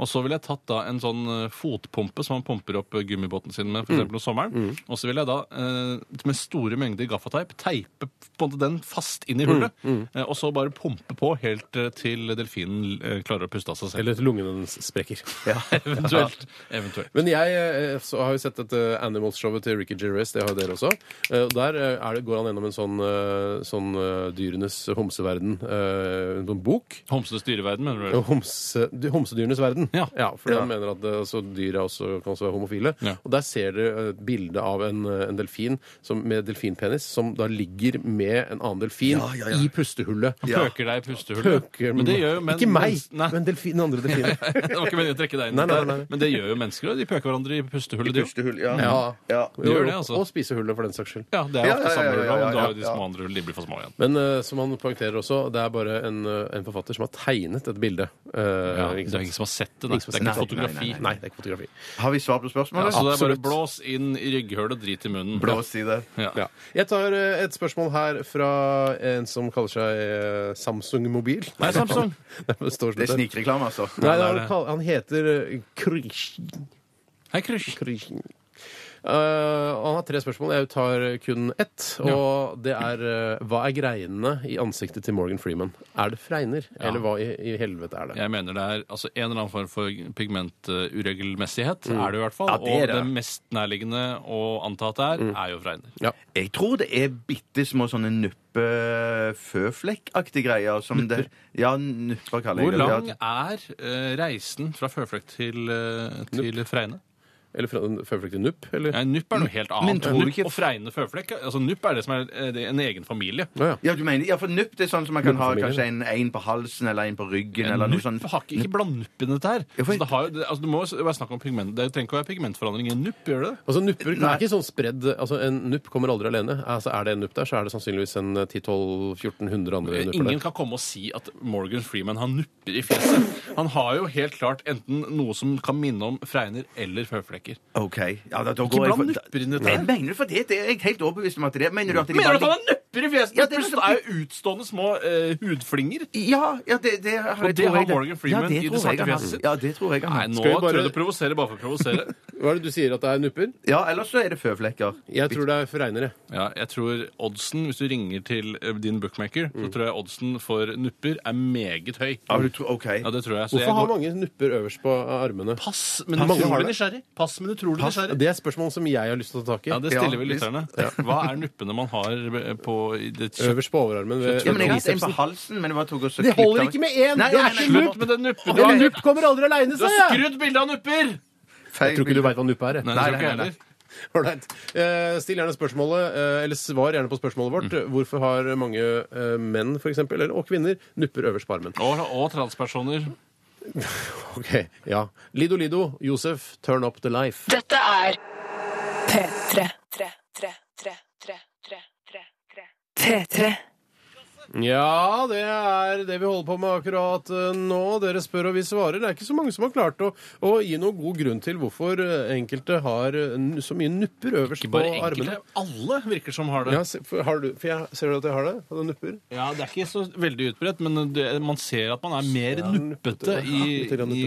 Og så ville jeg tatt da en sånn eh, fotpumpe som man pumper opp eh, gummibåten sin
Mhm.
med, f.eks. om sommeren. Og så ville jeg da eh, med store mengder gaffateip teipe på en måte den fast inn i hullet.
Mhm.
eh, Og så bare pumpe på helt eh, til delfinen eh, klarer å puste av seg selv.
Eller lungene hennes sprekker.
Eventuelt. Eventuelt.
Men jeg eh, så har jo sett dette Animals-showet til Ricky Gervais, det har jo dere også. Eh, og Der eh, er det, går han gjennom en sånn, eh, sånn eh, dyrenes homseverden, eh, en sånn bok.
Homsenes dyreverden, mener du?
Eh, Homse, de- homsedyrenes verden.
Ja.
for han mener at eh, altså, dyr er også, kan også være homofile.
Ja.
Og der ser dere eh, et bilde av en, eh, en delfin som, med delfinpenis som da ligger med en annen delfin i pustehullet.
Pøker deg i pustehullet.
Pøker,
Men det gjør jo menn-
Ikke meg,
mens- nei.
men delfin, den andre delfinen.
Det var ikke meningen å trekke deg inn.
Nei, nei, nei, nei.
Men det gjør jo mennesker. da. De pøker hverandre i pustehullet. de jo.
Pustehull, ja.
Ja.
Ja.
Gjør det, altså.
Og spisehullet, for den saks skyld.
Ja, det er
Ja,
ofte
ja,
samme
ja, ja,
regler, men da
ja,
er jo
ja,
de
ja.
små andre de blir for små igjen.
Men eh, som han poengterer også, det er bare en, eh, en forfatter som har tegnet et bilde. Eh,
Ja, det
ikke
er
sant?
ingen som har sett det. Da. Det er
Nei,
ikke fotografi.
nei,
Nei, det er ikke fotografi.
Har vi svar på
Ja,
spørsmålet?
så det er bare
Absolutt.
blås inn i rygghølet, drit i munnen.
Blås i det.
Ja.
Ja. Jeg tar eh, et spørsmål her fra en som kaller seg eh, Samsung Mobil.
Nei, Samsung.
Nei, det står
Det er
slutt her.
snikreklame, altså.
Nei, det
det er
er,
det.
kall- han heter eh, Krish-
Hei, Krysj.
Krish- Eh, han har tre spørsmål. Jeg tar kun ett. Og det er eh, Hva er greiene i ansiktet til Morgan Freeman? Er det fregner? Eller hva i, i helvete er det?
Jeg mener det er altså, en eller annen form for pigmenturegelmessighet. Er det jo i hvert fall.
Mm. Ja, det er
og
det. Mm.
det mest nærliggende å anta at det er, er jo fregner.
Jeg tror det er bitte små sånne nuppe-føflekkaktige greier som det Ja, nupper kaller
Hvor
jeg det.
lang
Ja.
er eh, reisen fra føflekk til, eh, til fregne?
Eller fra en føflektig nupp? Eller?
Ja, nupp er noe helt annet.
tror du
Nupp
ikke-
og fregne føflekk altså, Nupp er det som er eh, det er en egen familie.
Å, ja.
Ja, du mener, ja, for nupp det er sånn som man kan ha
Nuppefamilie.
kanskje en, en på halsen eller en på ryggen eller noe sånn-
Nupp
sånt.
har ikke, ikke bland nupp i dette her.
Ja, for-
Altså, det, har, jo- det, altså, det må jo være snakk om pigment. Det trenger ikke å være pigmentforandring i en nupp. gjør det?
Altså Nupper det
Nei.
er ikke sånn spredd altså En nupp kommer aldri alene. Altså Er det en nupp der, så er det sannsynligvis en eh, 10-12-1400 andre nupper
Ingen
der.
kan komme og si at Morgan Freeman har nupper i fjeset. Han har jo helt klart enten noe som kan minne om fregner eller føflekker.
OK. Ja, da, da går
Ikke
jeg for-
bland nupper inn i dette
Jeg
her.
mener det, for det, det er jeg helt overbevist om at det er. Mener du at de
Mener du at
bare-
han har nupper i fjeset?
Ja, det er
Pluss
så-
det er jo utstående små eh, hudflinger.
Ja, ja, det, det har jeg
det
tror
har
jeg
Morgan Freeman
ja,
i
det
det
tror jeg
svarte
han har.
fjeset sitt.
Ja, det tror jeg han
Nei,
har.
nå
Skal vi bare-
tror jeg du provoserer bare for å provosere.
Hva er det du sier at det er nupper?
Ja, ellers så er det føflekker.
Jeg tror det er fregnere.
Ja, jeg tror oddsen, hvis du ringer til eh, din bookmaker, så tror jeg oddsen for nupper er meget høy.
Ja, du tror, OK.
Ja, det tror jeg. Så jeg
Hvorfor har
går-
mange nupper øverst på eh, armene?
Pass, men
Mange har
utrolig
det.
nysgjerrig. Pass, men utrolig nysgjerrig.
Det er spørsmål som jeg har lyst til å ta tak i.
Ja, det stiller vi
Ja,
lytterne. Hva er nuppene man har eh, på i det kjøtt?
Øverst på overarmen. Ved,
Ja, men jeg har en på halsen, men det var tok også
det holder ikke med én!
Nei,
det
nei,
er
nei,
ikke
slutt
nupp!
med den nuppen!
En nupp kommer aldri aleine,
Du
sa
har
jeg!
skrudd bildet av nupper!
Jeg tror ikke du veit hva nupp er. jeg.
Nei, nei, nei,
nei.
nei.
Ålreit. Eh, Still gjerne spørsmålet, eh, eller svar gjerne på spørsmålet vårt.
Mm.
Hvorfor har mange eh, menn, for eksempel, eller, og kvinner, nupper øverst på armen?
Og, og transpersoner.
Ok, ja. Lido Lido, Josef, turn up the life.
Dette er
P3. P3. P3. P3.
Ja, det er det vi holder på med akkurat eh, nå. Dere spør og vi svarer. Det er ikke så mange som har klart å, å gi noen god grunn til hvorfor eh, enkelte har eh, n- så mye nupper øverst
Ikke
på
bare enkelte.
armene.
Alle virker som har det.
Ja, se- for, har du, for jeg, ser du at jeg har det? Har du nupper?
Ja, Det er ikke så veldig utbredt, men det, man ser at man er mer
Ja,
nuppete i,
litt grann
i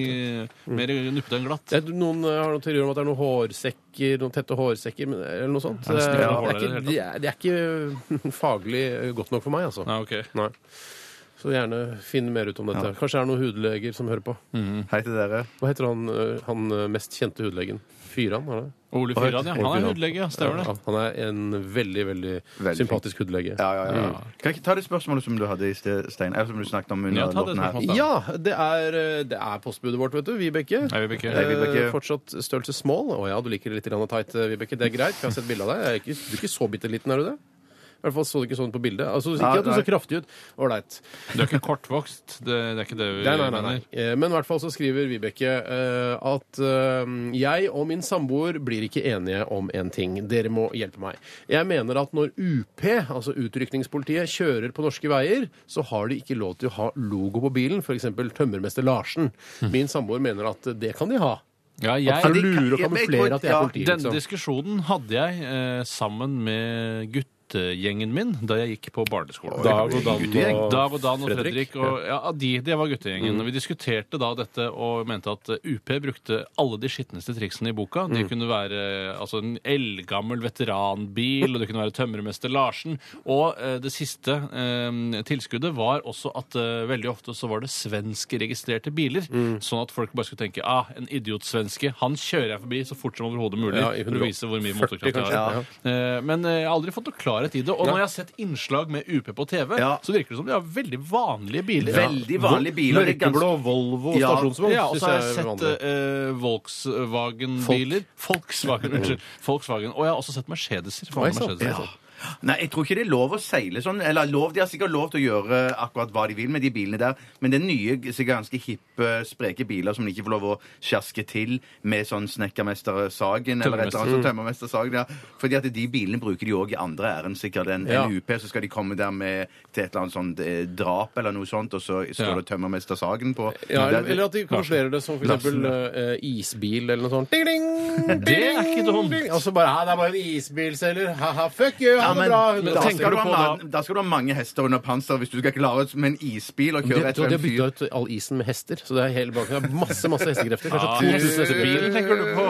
Mer nuppete enn glatt.
Jeg, tror noen eh, har noen teorier om at det er noen hårsekker, noen tette hårsekker, men, eller noe sånt. Det,
snill,
det,
hårløse
er ikke,
i det hele
det, er, det er ikke faglig eh, godt nok for meg, altså.
Nei, ok.
Nei. Så gjerne finn mer ut om dette. Kanskje det er noen hudleger som hører på.
Hei til dere.
Hva heter han, eh, han eh, mest kjente hudlegen? Fyran, er det?
Ole Fyran, ja. Han
Ole
er
Fyran.
hudlege, ja. Stemmer
Ja,
det.
han er en veldig, veldig,
Veldig
sympatisk hudlege.
Ja, ja, ja. Mm. Kan jeg ikke ta det spørsmålet som du hadde i sted, Stein? Eller som du snakket om under
Ja, ta det
låten her?
spørsmålet.
Ja, det er, eh, det er postbudet vårt, vet du. Vibeke.
Nei, Vibeke.
Hei, Vibeke.
Eh, fortsatt størrelse small. Å ja, du liker det litt grann tight, eh, Vibeke. Det er greit, for jeg har sett bilde av deg. Jeg er ikke, du er ikke så bitte liten, er du det? I hvert fall så du ikke sånn på bildet. Altså, ikke
Nei,
at du
nei.
så kraftig ut. Ålreit.
Du er ikke kortvokst. Det, det er ikke det vi
Nei, nei, nei, nei.
mener.
Eh, Men i hvert fall så skriver Vibeke eh, at eh, jeg og min samboer blir ikke enige om en ting. Dere må hjelpe meg. Jeg mener at når UP, altså utrykningspolitiet, kjører på norske veier, så har de ikke lov til å ha logo på bilen, f.eks. tømmermester Larsen. Min samboer mener at det kan de ha.
Ja,
At for å
jeg,
lure og
Ja, men-
kamuflere at de er
ja,
politi.
denne
Liksom.
diskusjonen hadde jeg eh, sammen med guttegjengen min da jeg gikk på barneskolen.
Dag og Dan
Guttegjeng.
og
Dag og Dan og Fredrik.
Fredrik, Mm.
og, ja, de, det var guttegjengen. Vi diskuterte da dette og mente at UP brukte alle de skitneste triksene i boka. Det
Mm.
kunne være altså, en eldgammel veteranbil, og det kunne være tømmermester Larsen. Og eh, det siste eh, tilskuddet var også at eh, veldig ofte så var det svenskregistrerte biler.
Mm.
Sånn at folk bare skulle tenke ah, en idiotsvenske, han kjører jeg forbi så fort som overhodet mulig.
Ja, i
for å vise hvor mye
140
motorkraft jeg har.
kanskje,
Eh, Men eh, jeg har aldri fått noe klarhet i det. Og når jeg har sett innslag med UP på TV,
Ja.
så virker det som de har veldig vanlige biler.
Veldig vanlige biler. det er ganske-
Mørkeblå Volvo
Ja.
stasjonsvogn
Ja, og
synes
så har jeg
jeg er
sett
vanlig.
eh, Volkswagen-biler. Volkswagen, unnskyld. Volkswagen. Og jeg har også sett Mercedeser.
Oi,
Faen,
sant.
Mercedeser.
Ja. Altså. Nei, jeg tror ikke det er lov å seile sånn. Eller lov, De har sikkert lov til å gjøre akkurat hva de vil med de bilene der, men det er nye, sikkert ganske hippe, spreke biler som de ikke får lov å sjaske til med sånn Snekkermester Sagen eller et eller annet. sånt, Tømmermester Sagen, ja. Fordi at de bilene bruker de òg i andre ærend, sikkert. En,
Ja.
en UP, så skal de komme der med til et eller annet sånt eh, drap eller noe sånt, og så står
Ja.
det Tømmermester Sagen på.
Ja,
Det er-
eller, eller at de kamuflerer det som for eksempel eh, isbil eller noe sånt. Ding, ding, ding,
Det er ikke dumt.
ding. Og så bare «Hæ, det er bare en isbilselger. Ha-ha, fuck you, ha
Ja,
det
men,
bra.
men da,
da,
skal
tenker
du
du
ha
på
man-
da-
da skal du ha mange hester under panser hvis du skal klare det med en isbil og kjøre
de,
etter
de har
en fyr.
bytta ut all isen med hester, så det er hele bak. Det er masse masse hestekrefter.
Ah,
Kanskje 1000 hester.
bilen tenker du på.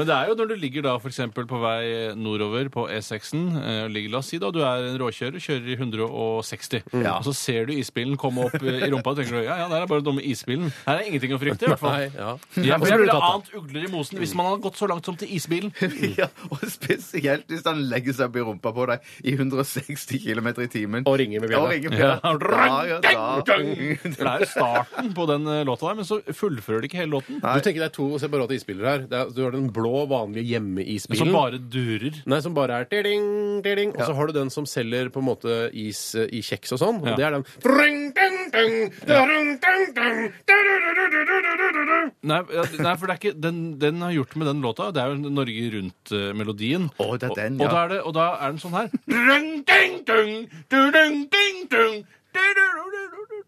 Men det er jo når du ligger da for eksempel på vei nordover på E6-en eh, og ligger, La oss si da du er en råkjører, kjører i 160.
Ja.
Og så ser du isbilen komme opp eh, i rumpa og tenker du, ja, ja, der er bare dumme isbilen. Her er ingenting å frykte, i hvert fall.
Nei, ja.
Ja,
Og så
men
blir
jeg
du
ville
tatt, da.
ant ugler i mosen hvis man hadde gått så langt som til isbilen.
Ja, og spesielt hvis han legger seg opp i rumpa på deg i 160 km i timen.
Og ringer med bjella.
Og ringer med bjella.
Ja.
Da,
For
ja,
Det er jo starten på den eh, låta der, men så fullfører de ikke hele låten.
Du tenker det er to separate isbiler her. Det er, du har den blå, vanlige
Som
hjemmeisbilen.
bare durer.
Nei, som bare er tiling, tiling. Og så har du den som selger på en måte is eh, i kjeks og sånn. Og
Ja.
det er den Fring, ding, ding, ding, ding, ding, du-du-du-du-du-du-du-du.
Nei, ja, nei for det er ikke, den, den har gjort med den låta. Det er jo Norge Rundt-melodien.
Å, det er den,
og, og,
ja.
da er det, og da er den sånn her. Dung, ding, dung, du, dung, ding, dung, du, du, du, du, du, du.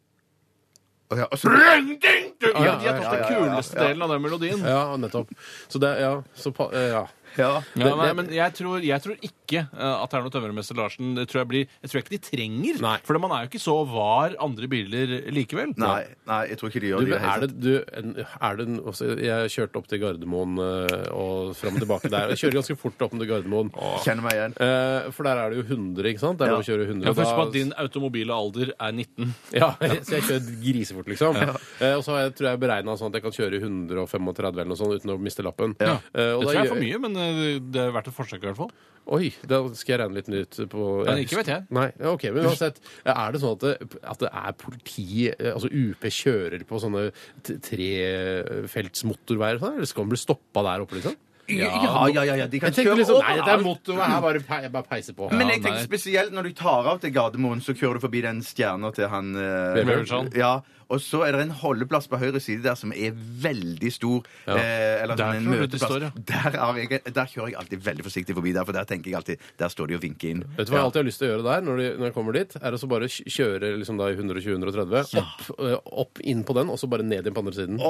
og ja, og så,
Dung, ding, dung.
ja,
Ja, de har
ja,
tatt
ja,
den
ja, ja.
kuleste delen av den melodien.
Ja, nettopp. Så det Ja. Så, pa- eh, ja.
ja.
Ja, nei, men jeg tror, jeg tror ikke eh, at det er noe Tømmermester Larsen. Det tror jeg, blir, jeg tror ikke de trenger.
Nei.
For man er jo ikke så var andre biler likevel.
Nei, nei, jeg tror ikke de
Du,
gjør
men
det. i
er
hele tatt.
det, du, en- er det en- altså, Jeg kjørte opp til Gardermoen eh, og fram og tilbake der. Jeg kjører ganske fort opp til Gardermoen.
Kjenner meg igjen.
Eh, For der er det jo 100, ikke sant? Det er lov å kjøre 100.
Ja, for Husk på
da-
at din automobile alder er 19.
Ja, så jeg kjører grisefort, liksom. Eh, og så har jeg, tror jeg beregna sånn at jeg kan kjøre i 135 eller noe sånt uten å miste lappen. Eh, og
det
da
tror jeg er for
gjør-
mye, men eh, det er verdt et forsøk i hvert fall.
Oi, da skal jeg regne litt nytt på
Men ikke vet jeg.
Nei, ja, ok, men uansett. Er det sånn at det, at det er politi, eh, altså UP, kjører på sånne t- trefelts motorveier og sånn? Eller skal man bli stoppa der oppe, liksom?
Ja, ja, ja. ja de kan
Jeg tenkte
kjøre
liksom, nei, dette er
overalt.
mottoet her, bare, pe- jeg bare peiser på.
Men
Ja,
jeg tenker
nei.
spesielt når du tar av til Gardermoen, så kjører du forbi den stjerna til han eh,
Bjørnson.
Ja, Og så er det en holdeplass på høyre side der som er veldig stor.
Ja.
eh, eller
Der
sånn en
tror jeg det
møteplass.
står, ja.
Der, har jeg, der kjører jeg alltid veldig forsiktig forbi der, for der tenker jeg alltid Der står de og vinker inn.
Vet du hva jeg alltid har lyst til å gjøre der, når, de, når jeg kommer dit? Er å så bare kj- kjøre liksom da i 120-130, opp, ø, opp inn på den, og så bare ned igjen på andre siden.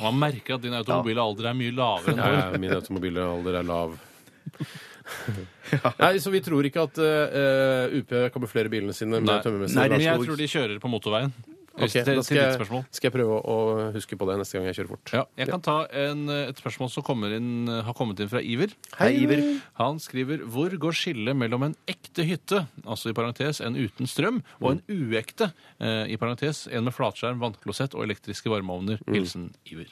Man merker at din automobile alder er mye lavere enn
Ja, min automobile alder er lav. Nei, så vi tror ikke at ø, UP kamuflerer bilene sine
Nei.
med tømmermessig
Nei,
Men
det
jeg
tror jeg-
tror de kjører på motorveien.
Ok,
Hvis det-
da
til
skal
ditt
jeg,
spørsmål.
skal jeg prøve å å huske på det neste gang jeg kjører fort.
Ja, jeg kan ta en, eh, et spørsmål som kommer inn, har kommet inn fra Iver.
Hei, Iver.
Han skriver hvor går skillet mellom en ekte hytte, altså i parentes en uten strøm, og en uekte, eh, i parentes en med flatskjerm, vannklosett og elektriske varmeovner? Hilsen Iver.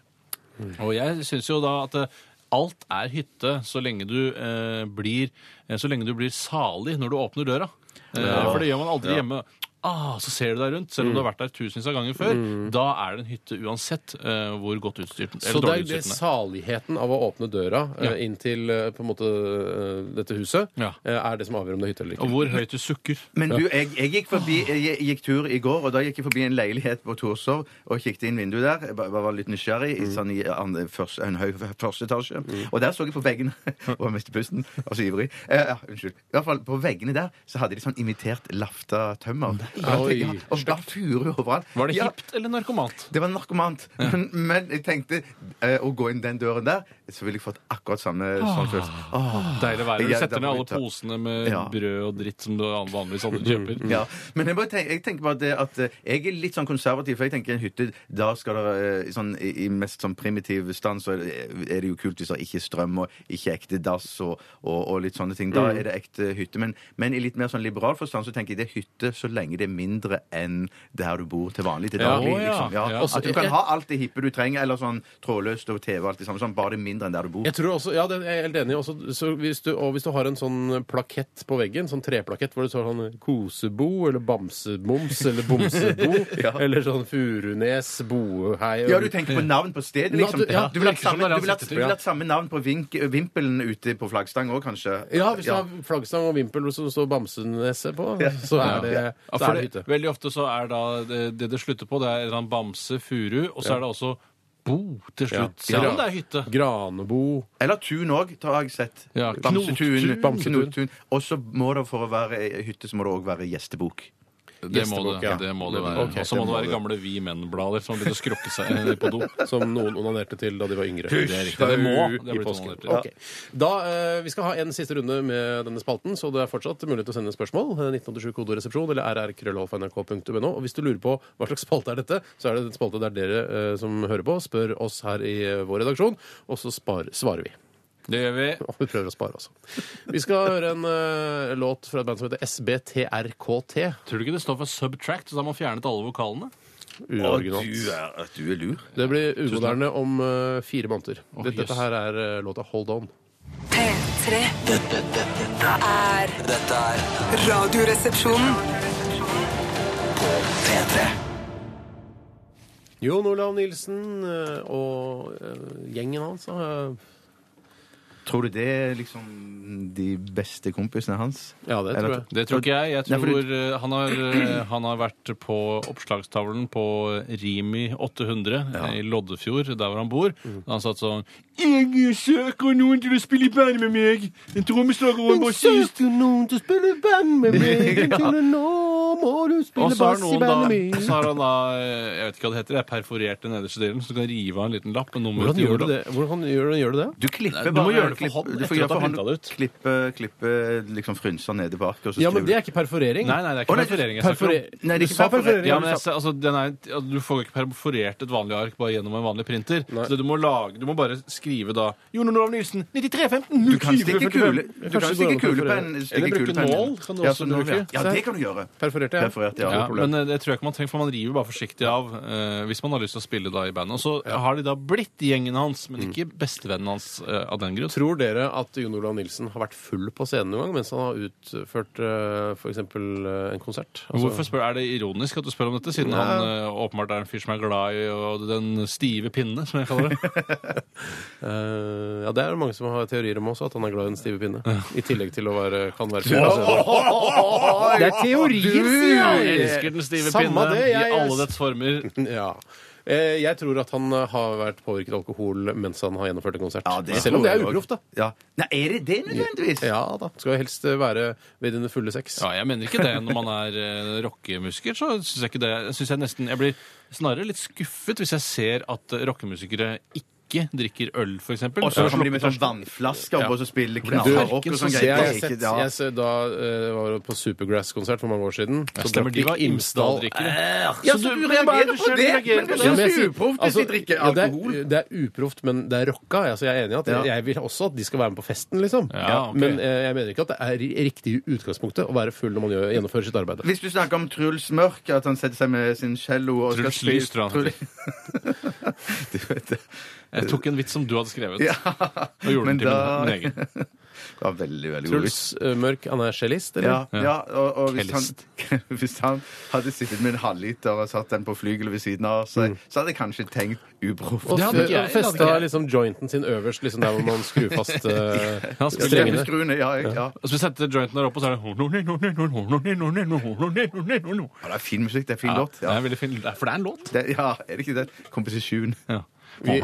Og jeg syns jo da at eh, alt er hytte så lenge du eh, blir eh, så lenge du blir salig når du åpner døra. Eh, For det gjør man aldri hjemme. Ah, så ser du deg rundt, selv om du har vært der tusenvis av ganger før. Da er det en hytte uansett eh, hvor godt utstyrt den
Mm. Så
eller
det er
dårlig
jo det
utstyrt den er.
saligheten av å åpne døra ø,
Ja.
inn til ø, på en måte ø, dette huset,
Ja.
ø, er det som avgjør om det er hytte eller ikke.
Og hvor høyt du sukker.
Men du, jeg, jeg, gikk forbi, jeg gikk tur i går, og da gikk jeg forbi en leilighet på Torshov og kikket inn vinduet der. Jeg ba- bare var litt nysgjerrig
Mm.
i, sånn, i andre, først, en høy første etasje. Og der så jeg på veggene Og jeg mistet pusten. Jeg var så ivrig. Eh, ja, unnskyld. I hvert fall på veggene der så hadde de sånn imitert lafta tømmer. Og,
Oi,
ja, og bare furu overalt.
Var det
Ja,
hipt eller narkomant?
det var narkomant. Men, men jeg tenkte eh, å gå inn den døren der, så ville jeg fått akkurat samme
Ah.
sånn følelse. Åh.
Ah.
Deilig å være. Du
Ja,
setter
da
ned
må
alle
vi ta-
posene med
Ja.
brød og dritt som du vanligvis
Mm,
aldri kjøper.
Ja, men jeg, bare tenker, jeg tenker bare det at eh, jeg er litt sånn konservativ, for jeg tenker en hytte, da skal det eh, sånn, i, i mest sånn primitiv stand, så er det- er det jo kult hvis det ikke er strøm og ikke ekte dass og, og, og litt sånne ting.
Mm.
Da er det ekte hytte. Men, men i litt mer sånn liberal forstand så tenker jeg det er hytte så lenge det er mindre enn der du bor til vanlig til
Ja,
daglig.
å ja.
Liksom.
Ja.
Ja.
Også-
At du kan ha alt det hippe du trenger, eller sånn trådløst og TV og alt det samme, sånn, bare det er mindre enn der du bor.
Jeg tror også, ja, det er jeg helt enig i. Også- så hvis du- Og hvis du har en sånn plakett på veggen, sånn treplakett hvor det står sånn Kosebo eller Bamsemums eller Bomsebo
Ja.
eller sånn Furunes, Bohei og-
Ja, du tenker på navn på stedet, liksom.
du- ja,
du, vil ha
virker som
samme,
det er
du, vil ha,
hans
du vil ha samme navn på vink, vimpelen ute på flaggstang òg, kanskje?
Ja, hvis du har flaggstang og vimpel som det står Bamseneset på, så er det,
Ja,
så er
for
det hytte.
det, veldig ofte så er da det det, det slutter på, det er en eller annen bamse, furu, og så er det også bo til slutt.
Ja.
Selv om det er hytte.
Granebo
Eller tun òg, har jeg sett.
Ja,
Bamsetun.
knotun.
Knotun. Og så må det for å være ei hytte, så må det òg være gjestebok.
Det må det,
Gjestebok, ja.
det, må det være.
Ok,
og så må
det
det
må
være
det.
gamle Vi Menn-blader som har begynt å skrukke seg eh, på do.
som noen onanerte til da de var yngre.
Hysj,
Det er riktig. Det
da
må
er du- det
i
blir
påsken.
onanert til. Ja.
Ok. Da, eh, vi skal ha en siste runde med denne spalten, så det er fortsatt mulighet til å sende spørsmål. eh, 1987kodoresepsjon eller rrkrøllalfa.nrk.no. Og hvis du lurer på hva slags spalte er dette, så er det en spalte der dere eh, som hører på, spør oss her i eh, vår redaksjon, og så spar, svarer vi.
Det gjør vi.
Og vi prøver å spare, altså. Vi skal høre en eh, låt fra et band som heter SBTRKT.
Tror du ikke det står for subtract, så har man fjernet alle vokalene?
Å, du
Uoriginalt.
er, at du er lur.
Det blir umoderne om eh, fire måneder. Dette,
jøss.
dette her er eh, låta Hold On.
P3
Dette, dette, dette,
er
dette er
Radioresepsjonen.
P3.
Jon Olav Nilsen eh, og eh, gjengen hans. eh,
Tror du det er liksom de beste kompisene hans?
Ja, det tror
Eller-
jeg.
Det tror ikke jeg. Jeg
Nei, for du-
tror eh, han har, eh, han har vært på oppslagstavlen på Rimi 800 i Loddefjord, der hvor han bor. Han satt sånn Jeg søker noen til å spille i band med meg! En trommeslager og en bassist!
noen til å spille band med meg? Til nå må du
Og så har noen da, så har han da eh, Jeg vet ikke hva det heter, jeg perforert den nederste delen, så du kan rive av en liten lapp. med
Hvordan
nummeret til
gjør du
jula.
det? Hvordan gjør du, gjør du det?
Du klipper
Nei,
bare
du må gjøre det for
klipp-
hånd
du
etter
får gjøre
at du
for
har
hånd.
printet det ut.
Klippe, klippe liksom frynser nede bak. Og så
Ja, men
skriver
det er ikke perforering.
Nei, nei, det er ikke
Å, nei,
perforering. Jeg snakker om.
Perforer-
Nei, det er
du
ikke
sa
perforering.
perforering.
Ja, men jeg, ser- altså, den er, altså, du får jo ikke perforert et vanlig ark bare gjennom en vanlig printer.
Nei.
Så du må, lage, du må bare skrive da Jon Olav Nilsen, 9315,
Du kan stikke kule,
Kanskje
du kan
det går an å
stikke kulepenn.
perforere.
stikke
Eller bruke
kulepenn.
nål, kan du
Ja,
også
sånn nål,
bruke.
Ja, Ja, det kan du gjøre.
Perforerte refererte jeg.
Referert, ja.
Ja,
Noe problem.
men eh, det tror jeg ikke man trenger, for man river bare forsiktig av eh, hvis man har lyst til å spille da i bandet. Og så har de da blitt gjengen hans,
Mm.
men ikke bestevennen hans eh, av den grunn.
Tror dere at Jon Olav Nilsen har vært full på scenen noen gang mens han har utført eh, for eksempel eh, en konsert? Altså-
Hvorfor spør, Er det ironisk at du spør om dette, siden
Nei.
han eh, åpenbart er en fyr som er glad i og den stive pinne, som jeg kaller det?
Eh, ja, det er det mange som har teorier om også, at han er glad i den stive pinne. I tillegg til å være, kan være
Det er teorier, sier
Jeg
jeg!
elsker den stive
Samme
pinne
det, jeg-
i alle dets former.
Ja. Eh, Jeg tror at han eh, har vært påvirket av alkohol mens han har gjennomført en konsert.
Ja, det
eh, Selv om
tror
det
jeg
er
også.
uproft, da.
Ja. Nei, er det det nødvendigvis?
Ja da. Skal jo helst eh, være ved dine fulle seks.
Ja, jeg mener ikke det. Når man er eh, rockemusiker, så syns jeg ikke det. Jeg synes jeg nesten Jeg blir snarere litt skuffet hvis jeg ser at eh, rockemusikere ikke drikker øl, for eksempel.
Og så
Ja.
kommer de med sånn vannflasker
Ja.
og så spiller
Du,
knallhard rock og
Verken
sånn
så
Jeg,
greier.
har
Det er
sett,
ikke- ja.
jeg ser- da eh, var det på Supergrass-konsert for mange år siden. Så
Stemmer, de
drakk
var Imsdal-drikkere.
Ja, så du
Ja,
reagerer på det, men det
men
synes
jeg
jeg er
sier-
uproft hvis
altså,
de drikker
ja, det er-
alkohol.
Det er uproft, men det er rocka. Altså, jeg er enig i at
Ja.
jeg vil også at de skal være med på festen, liksom.
Ja, ok.
Men eh, jeg mener ikke at det er i- riktig i utgangspunktet å være full når man gjør, gjennomfører sitt arbeid.
Hvis du snakker om Truls Mørk, at han setter seg med sin cello og
Truls
skal
Lys, tror jeg han
Truls- Du vet det.
Jeg tok en vits som du hadde skrevet,
Ja.
og gjorde
Men
den til
da-
min, min egen.
Det var veldig, veldig god vits.
Truls eh, Mørk, han er cellist, eller?
Ja, ja, og, og hvis,
Cellist.
han, hvis han hadde sittet med en halvliter og satt den på flygelet ved siden av seg, så hadde jeg kanskje tenkt uproft.
Og
Det hadde ikke jeg,
f-
det hadde
festa
ikke jeg.
liksom jointen sin øverst, liksom der hvor man skrur fast eh,
Han skulle-
strengene.
Skruene, ja, jeg, ja.
Og så setter jointen der oppe, og så er det
ja, det er fin musikk. Det er fin
Ja,
låt.
det
Ja.
er veldig fin. Det er- For det er en låt.
Det, ja, er det ikke det? Komposisjon.
Ja.
Vi-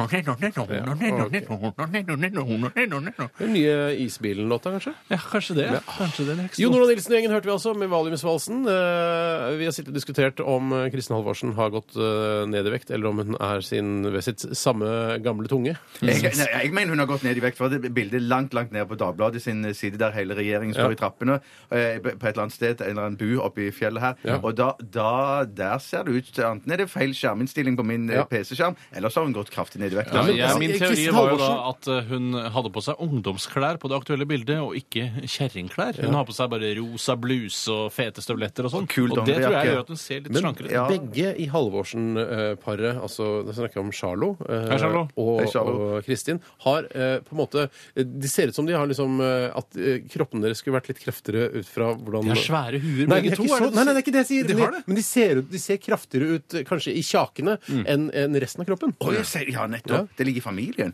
Ja,
Den nye Isbilen-låta, kanskje?
kanskje det. Kanskje det er ikke så
Jon Olav Nilsen og gjengen hørte vi altså med Valiumsvalsen. Eh, Vi har sittet og diskutert om eh, Kristin Halvorsen har gått eh, ned i vekt, eller om hun er sin, ved sitt samme gamle tunge.
Jeg, nei, jeg mener hun har gått ned i vekt. For det bildet langt langt ned på Dagbladet sin side, der hele regjeringen står
Ja.
i trappene eh, på et eller annet sted, en eller annen bu oppe i fjellet her.
Ja.
Og da, da, der ser det ut til Enten er det feil skjerminnstilling på min eh,
Ja.
PC-skjerm, eller så har hun gått kraftig ned i vekt.
Ja,
Altså,
jeg, min teori
Kristin
var jo da at eh, hun hadde på seg ungdomsklær på det aktuelle bildet, og ikke kjerringklær. Hun har på seg bare rosa bluse og fete støvletter og sånn.
kul
Og det tror jeg
dongerijakke.
gjør at hun ser litt
Men
slankere ut.
Ja.
begge i Halvorsen-paret, altså da snakker jeg om Charlo, eh,
Hei, Charlo.
Og,
Hei, Charlo.
og Kristin, har eh, på en måte De ser ut som de har liksom eh, At eh, kroppen deres skulle vært litt kraftigere ut fra hvordan
De har svære huer,
nei,
begge
det er
to,
ikke
er
Så,
det-
nei, nei, det er ikke det jeg sier.
De
men,
har
de,
det. Mm.
men de ser, ut- de ser kraftigere ut eh, kanskje i kjakene enn enn resten av kroppen.
Å, jeg sier, ja, nettopp. Det ligger i familien.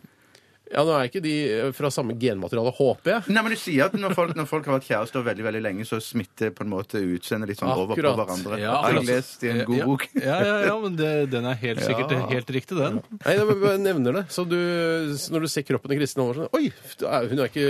Ja, nå er ikke de eh, fra samme genmateriale, håper jeg.
Nei, men du sier at når folk, når folk har vært kjærester veldig veldig lenge, så smitter på en måte utseendet litt sånn over på
Akkurat.
hverandre.
Ja,
har jeg
akkurat.
lest i en god
ja,
bok.
Ja, ja, ja, men det, den er helt sikkert helt riktig, den.
Nei, jeg bare nevner det. Så du, så når du ser kroppen til Kristin Halvorsen Oi! da er- Hun er ikke,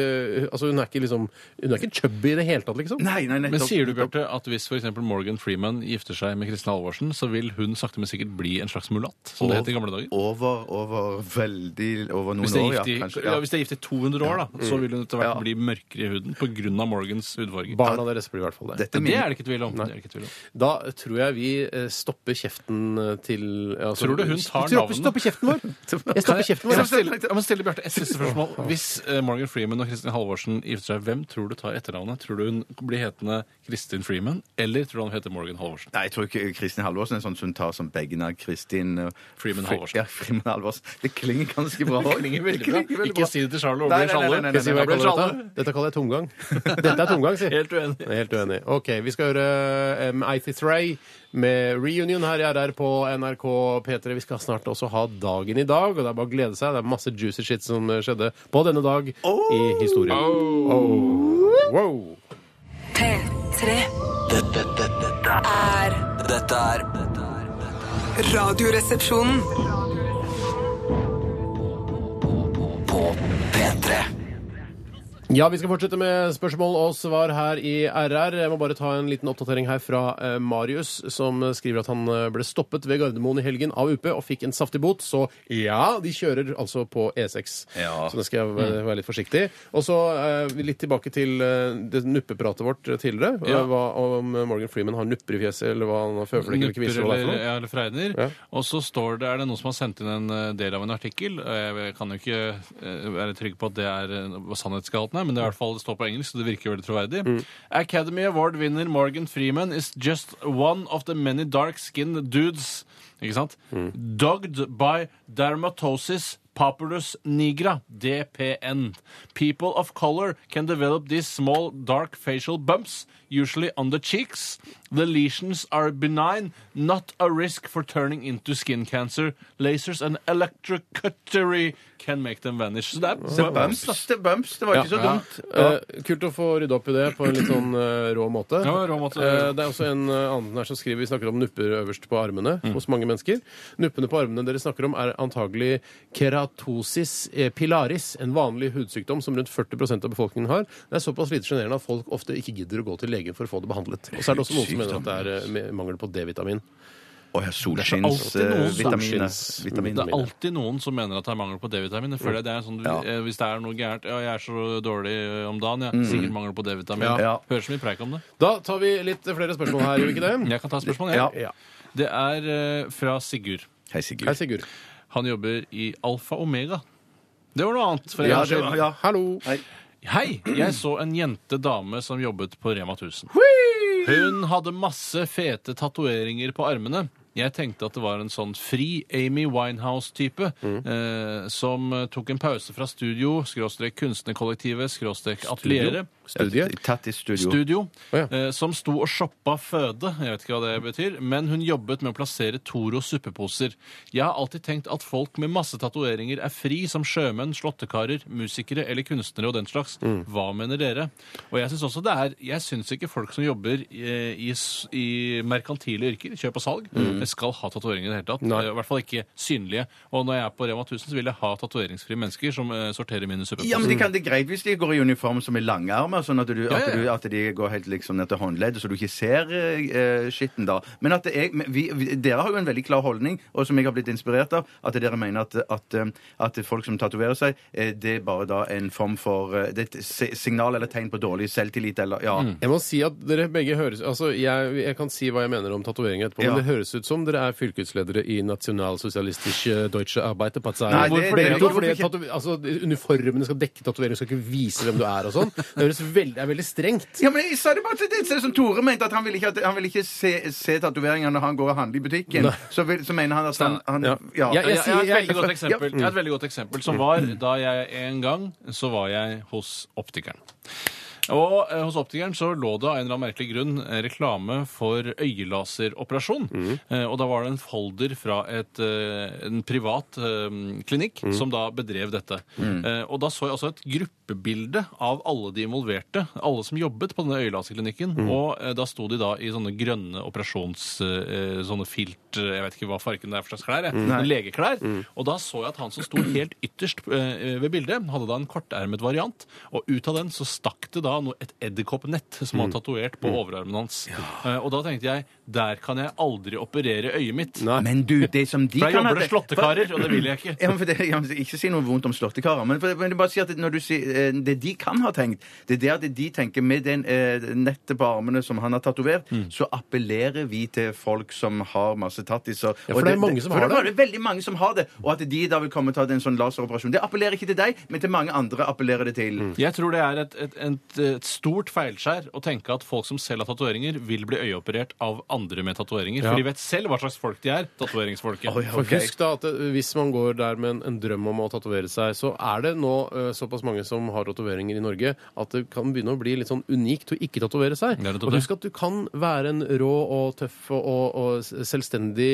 altså hun er ikke liksom Hun er ikke chubby i det hele tatt, liksom.
Nei, nei, nettopp.
Men sier du, Bjarte, at hvis f.eks. Morgan Freeman gifter seg med Kristin Halvorsen, så vil hun sakte, men sikkert bli en slags mulatt, som det het i gamle dager?
Over, over veldig Over noen
Hvis de
år,
er
ja.
gift i,
Kanskje,
ja,
ja.
hvis de er gift i 200 år, da, så vil hun etter hvert
Ja.
bli mørkere i huden pga. Morgans hudfarge.
Barna deres blir i hvert fall det.
Dette
Det
minner-
er det ikke tvil om. Det er det ikke tvil om.
Da tror jeg vi eh, stopper kjeften eh, til altså,
Tror du hun tar
Tror-
navnet?
Stopper kjeften vår! Jeg stopper kjeften
Jeg
vår.
må stille, jeg må stille Bjarte et siste spørsmål. Hvis eh, Morgan Freeman og Kristin Halvorsen gifter seg, hvem tror du tar etternavnet? Tror du hun blir hetende Kristin Freeman, eller tror du han heter Morgan Halvorsen?
Nei, jeg tror ikke Kristin Halvorsen er sånn som tar som begge navn. Kristin eh,
Freeman
Fri-
Halvorsen.
Ja, Freeman Halvorsen. Det klinger ganske bra.
Det klinger veldig bra. Ikke si det til Charlo, hun
Nei,
blir sjalu.
nei, nei, nei,
Skal jeg si hva jeg
Hun blir
kaller
sjalu.
dette? Dette kaller jeg tomgang. Dette er tomgang, si.
Helt uenig.
Jeg er Helt uenig. OK, vi skal høre eh, Mighty Thray med Reunion her i RR på NRK P3. Vi skal snart også ha dagen i dag, og det er bare å glede seg. Det er masse juicy shit som eh, skjedde på denne dag i historien. Oh. Wow.
P3
Dette, dette, dette,
er
er- dette er dette er- dette er
Radioresepsjonen.
På P3
Ja, vi skal fortsette med spørsmål og svar her i RR. Jeg må bare ta en liten oppdatering her fra eh, Marius, som eh, skriver at han eh, ble stoppet ved Gardermoen i helgen av UP og fikk en saftig bot. Så ja, de kjører altså på E6.
Ja.
Så da skal jeg være, være litt forsiktig. Og så eh, litt tilbake til eh, det nuppepratet vårt tidligere.
Ja.
Eh, Hva om eh, Morgan Freeman har nupper i fjeset, eller hva han har føflekk eller
Nupper
kviser eller hva det er
eller,
for noe.
ja, eller fregner.
Ja.
Og så står det, er det noen som har sendt inn en eh, del av en artikkel. og Jeg kan jo ikke eh, være trygg på at det er eh, hva sannhetsgehalt nyhetene, men det er i hvert fall det står på engelsk, så det virker jo veldig troverdig.
Mm.
Academy Award-vinner Morgan Freeman is just one of the many dark-skinned dudes ikke sant?
Mm.
Dogged by dermatosis populus nigra, DPN. People of color can develop these small dark facial bumps, usually on the cheeks. The lesions are benign, not a risk for turning into skin cancer. Lasers and electrocuttery can make them vanish. Så det er bumps, da.
Bumps, det, bumps, det var ikke så dumt.
Eh, kult å få rydda opp i det på en litt sånn eh, rå måte.
Ja, rå måte.
Eh, det er også en eh, annen her som skriver Vi snakker om nupper øverst på armene
Mm.
hos mange mennesker. Nuppene på armene dere snakker om, er antagelig keratosis eh, pilaris, en vanlig hudsykdom som rundt 40 av befolkningen har. Det er såpass lite sjenerende at folk ofte ikke gidder å gå til legen for å få det behandlet. Og så er det også noen som mener at det er eh, med- mangel på D-vitamin.
Å ja,
Det er alltid noen
solskinns-
solskinnsvitaminer.
Det er alltid noen som mener at det er mangel på D-vitamin. Jeg føler det er en sånn,
Mm. Ja.
eh, Hvis det er noe gærent Ja, jeg er så dårlig eh, om dagen. Jeg. Sikkert mangel på D-vitamin.
Mm. Ja.
Hører så mye preik om det.
Da tar vi litt flere spørsmål her, gjør vi ikke det?
Jeg kan ta et spørsmål,
Ja.
jeg. Det er eh, fra Sigurd.
Hei, Sigurd.
Hei, Sigurd.
Han jobber i Alfa Omega. Det var noe annet. For
Ja,
en gangs
det
skyld.
var, ja.
Hallo.
Hei! Jeg så en jente dame som jobbet på Rema 1000. Hun hadde masse fete tatoveringer på armene. Jeg tenkte at det var en sånn fri Amy Winehouse-type eh, som eh, tok en pause fra studio, skråstrek kunstnerkollektivet, skråstrek atelieret.
Studie.
Tatt i studio.
Studio,
Å, ja.
eh, som sto og shoppa føde, jeg vet ikke hva det betyr, men hun jobbet med å plassere Toro suppeposer. Jeg har alltid tenkt at folk med masse tatoveringer er fri som sjømenn, slåttekarer, musikere eller kunstnere og den slags.
Mm.
Hva mener dere? Og jeg syns også det er Jeg syns ikke folk som jobber eh, i, s- i merkantile yrker, kjøp og salg,
Mm.
skal ha tatoveringer i det hele tatt. Eh, I hvert fall ikke synlige. Og når jeg er på Rema 1000, så vil jeg ha tatoveringsfrie mennesker som eh, sorterer mine suppeposer.
Ja, men de kan det er greit hvis de går i uniform som er langarmer, sånn at, du,
ja,
at,
ja.
du, at de går helt liksom ned til håndleddet, så du ikke ser eh, skitten da. Men at det er, men vi, vi, dere har jo en veldig klar holdning, og som jeg har blitt inspirert av, at dere mener at, at, eh, at folk som tatoverer seg, eh, det er bare da en form for eh, det er et si- signal eller tegn på dårlig selvtillit, eller ja.
Mm.
Jeg må si at dere begge høres Altså, jeg, jeg kan si hva jeg mener om tatoveringer etterpå,
Ja.
men det høres ut som dere er fylkesledere i Nationalsosialistische Deutsche Arbeiterpartei.
Nei, det-
Hvorfor
det-
det?
hvorfor
Fordi
ikke?
tatover- altså, uniformene skal dekke tatoveringer, skal ikke vise hvem du er og sånn. Det høres veld, det er veldig strengt.
Ja, men jeg sa det bare til det ser ut som Tore mente, at han vil ikke, at, han vil ikke se, se tatoveringer når han går og handler i butikken. Så, vil, så mener han at han, han
Ja.
ja.
Ja, Jeg
Jeg, jeg, har
sier-
et veldig
jeg-
godt eksempel. Jeg har et veldig godt eksempel som var da jeg en gang så var jeg hos optikeren. Og eh, hos optikeren så lå det av en eller annen merkelig grunn eh, reklame for øyelaseroperasjon.
Mhm.
Eh, og da var det en folder fra et, eh, en privat eh, klinikk
Mhm.
som da bedrev dette. Eh, og da så jeg også et gruppebilde av alle de involverte, alle som jobbet på denne øyelaserklinikken.
Mhm.
Og eh, da sto de da i sånne grønne operasjons... Eh, sånne filt... eh, Jeg vet ikke hva farken det er for slags klær. Jeg. Men Legeklær. Og da så jeg at han som sto helt ytterst eh, ved bildet, hadde da en kortermet variant. Og ut av den så stakk det da noe, et edderkoppnett som var tatovert på overarmen hans. Eh, og da tenkte jeg der kan jeg aldri operere øyet mitt.
Nei.
Men du, det som de
For jeg
kan
jobber
ha-
det slåttekarer, og det vil jeg ikke.
Ja, men for det, ja, men ikke si noe vondt om slåttekarer, men, for, men jeg bare si at når du sier eh, det de kan ha tenkt, det er det at de tenker med den eh, nettet på armene som han har tatovert,
Mm.
så appellerer vi til folk som har masse tattiser.
Ja, for
Og
det er mange som
for
har
det. er veldig mange som har det, og at de da vil komme til å ta en sånn laseroperasjon. Det appellerer ikke til deg, men til mange andre appellerer det til.
Mm.
Jeg tror det er et, et, et, et stort feilskjær å tenke at folk som selv har tatoveringer, vil bli øyeoperert av andre med tatoveringer.
Ja.
For de vet selv hva slags folk de er. Tatoveringsfolket.
Å, ja,
For
ok.
husk da at eh, Hvis man går der med en, en drøm om å tatovere seg, så er det nå eh, såpass mange som har tatoveringer i Norge at det kan begynne å bli litt sånn unikt å ikke tatovere seg.
Det er nettopp
Og
det.
husk at du kan være en rå og tøff og, og, og s- selvstendig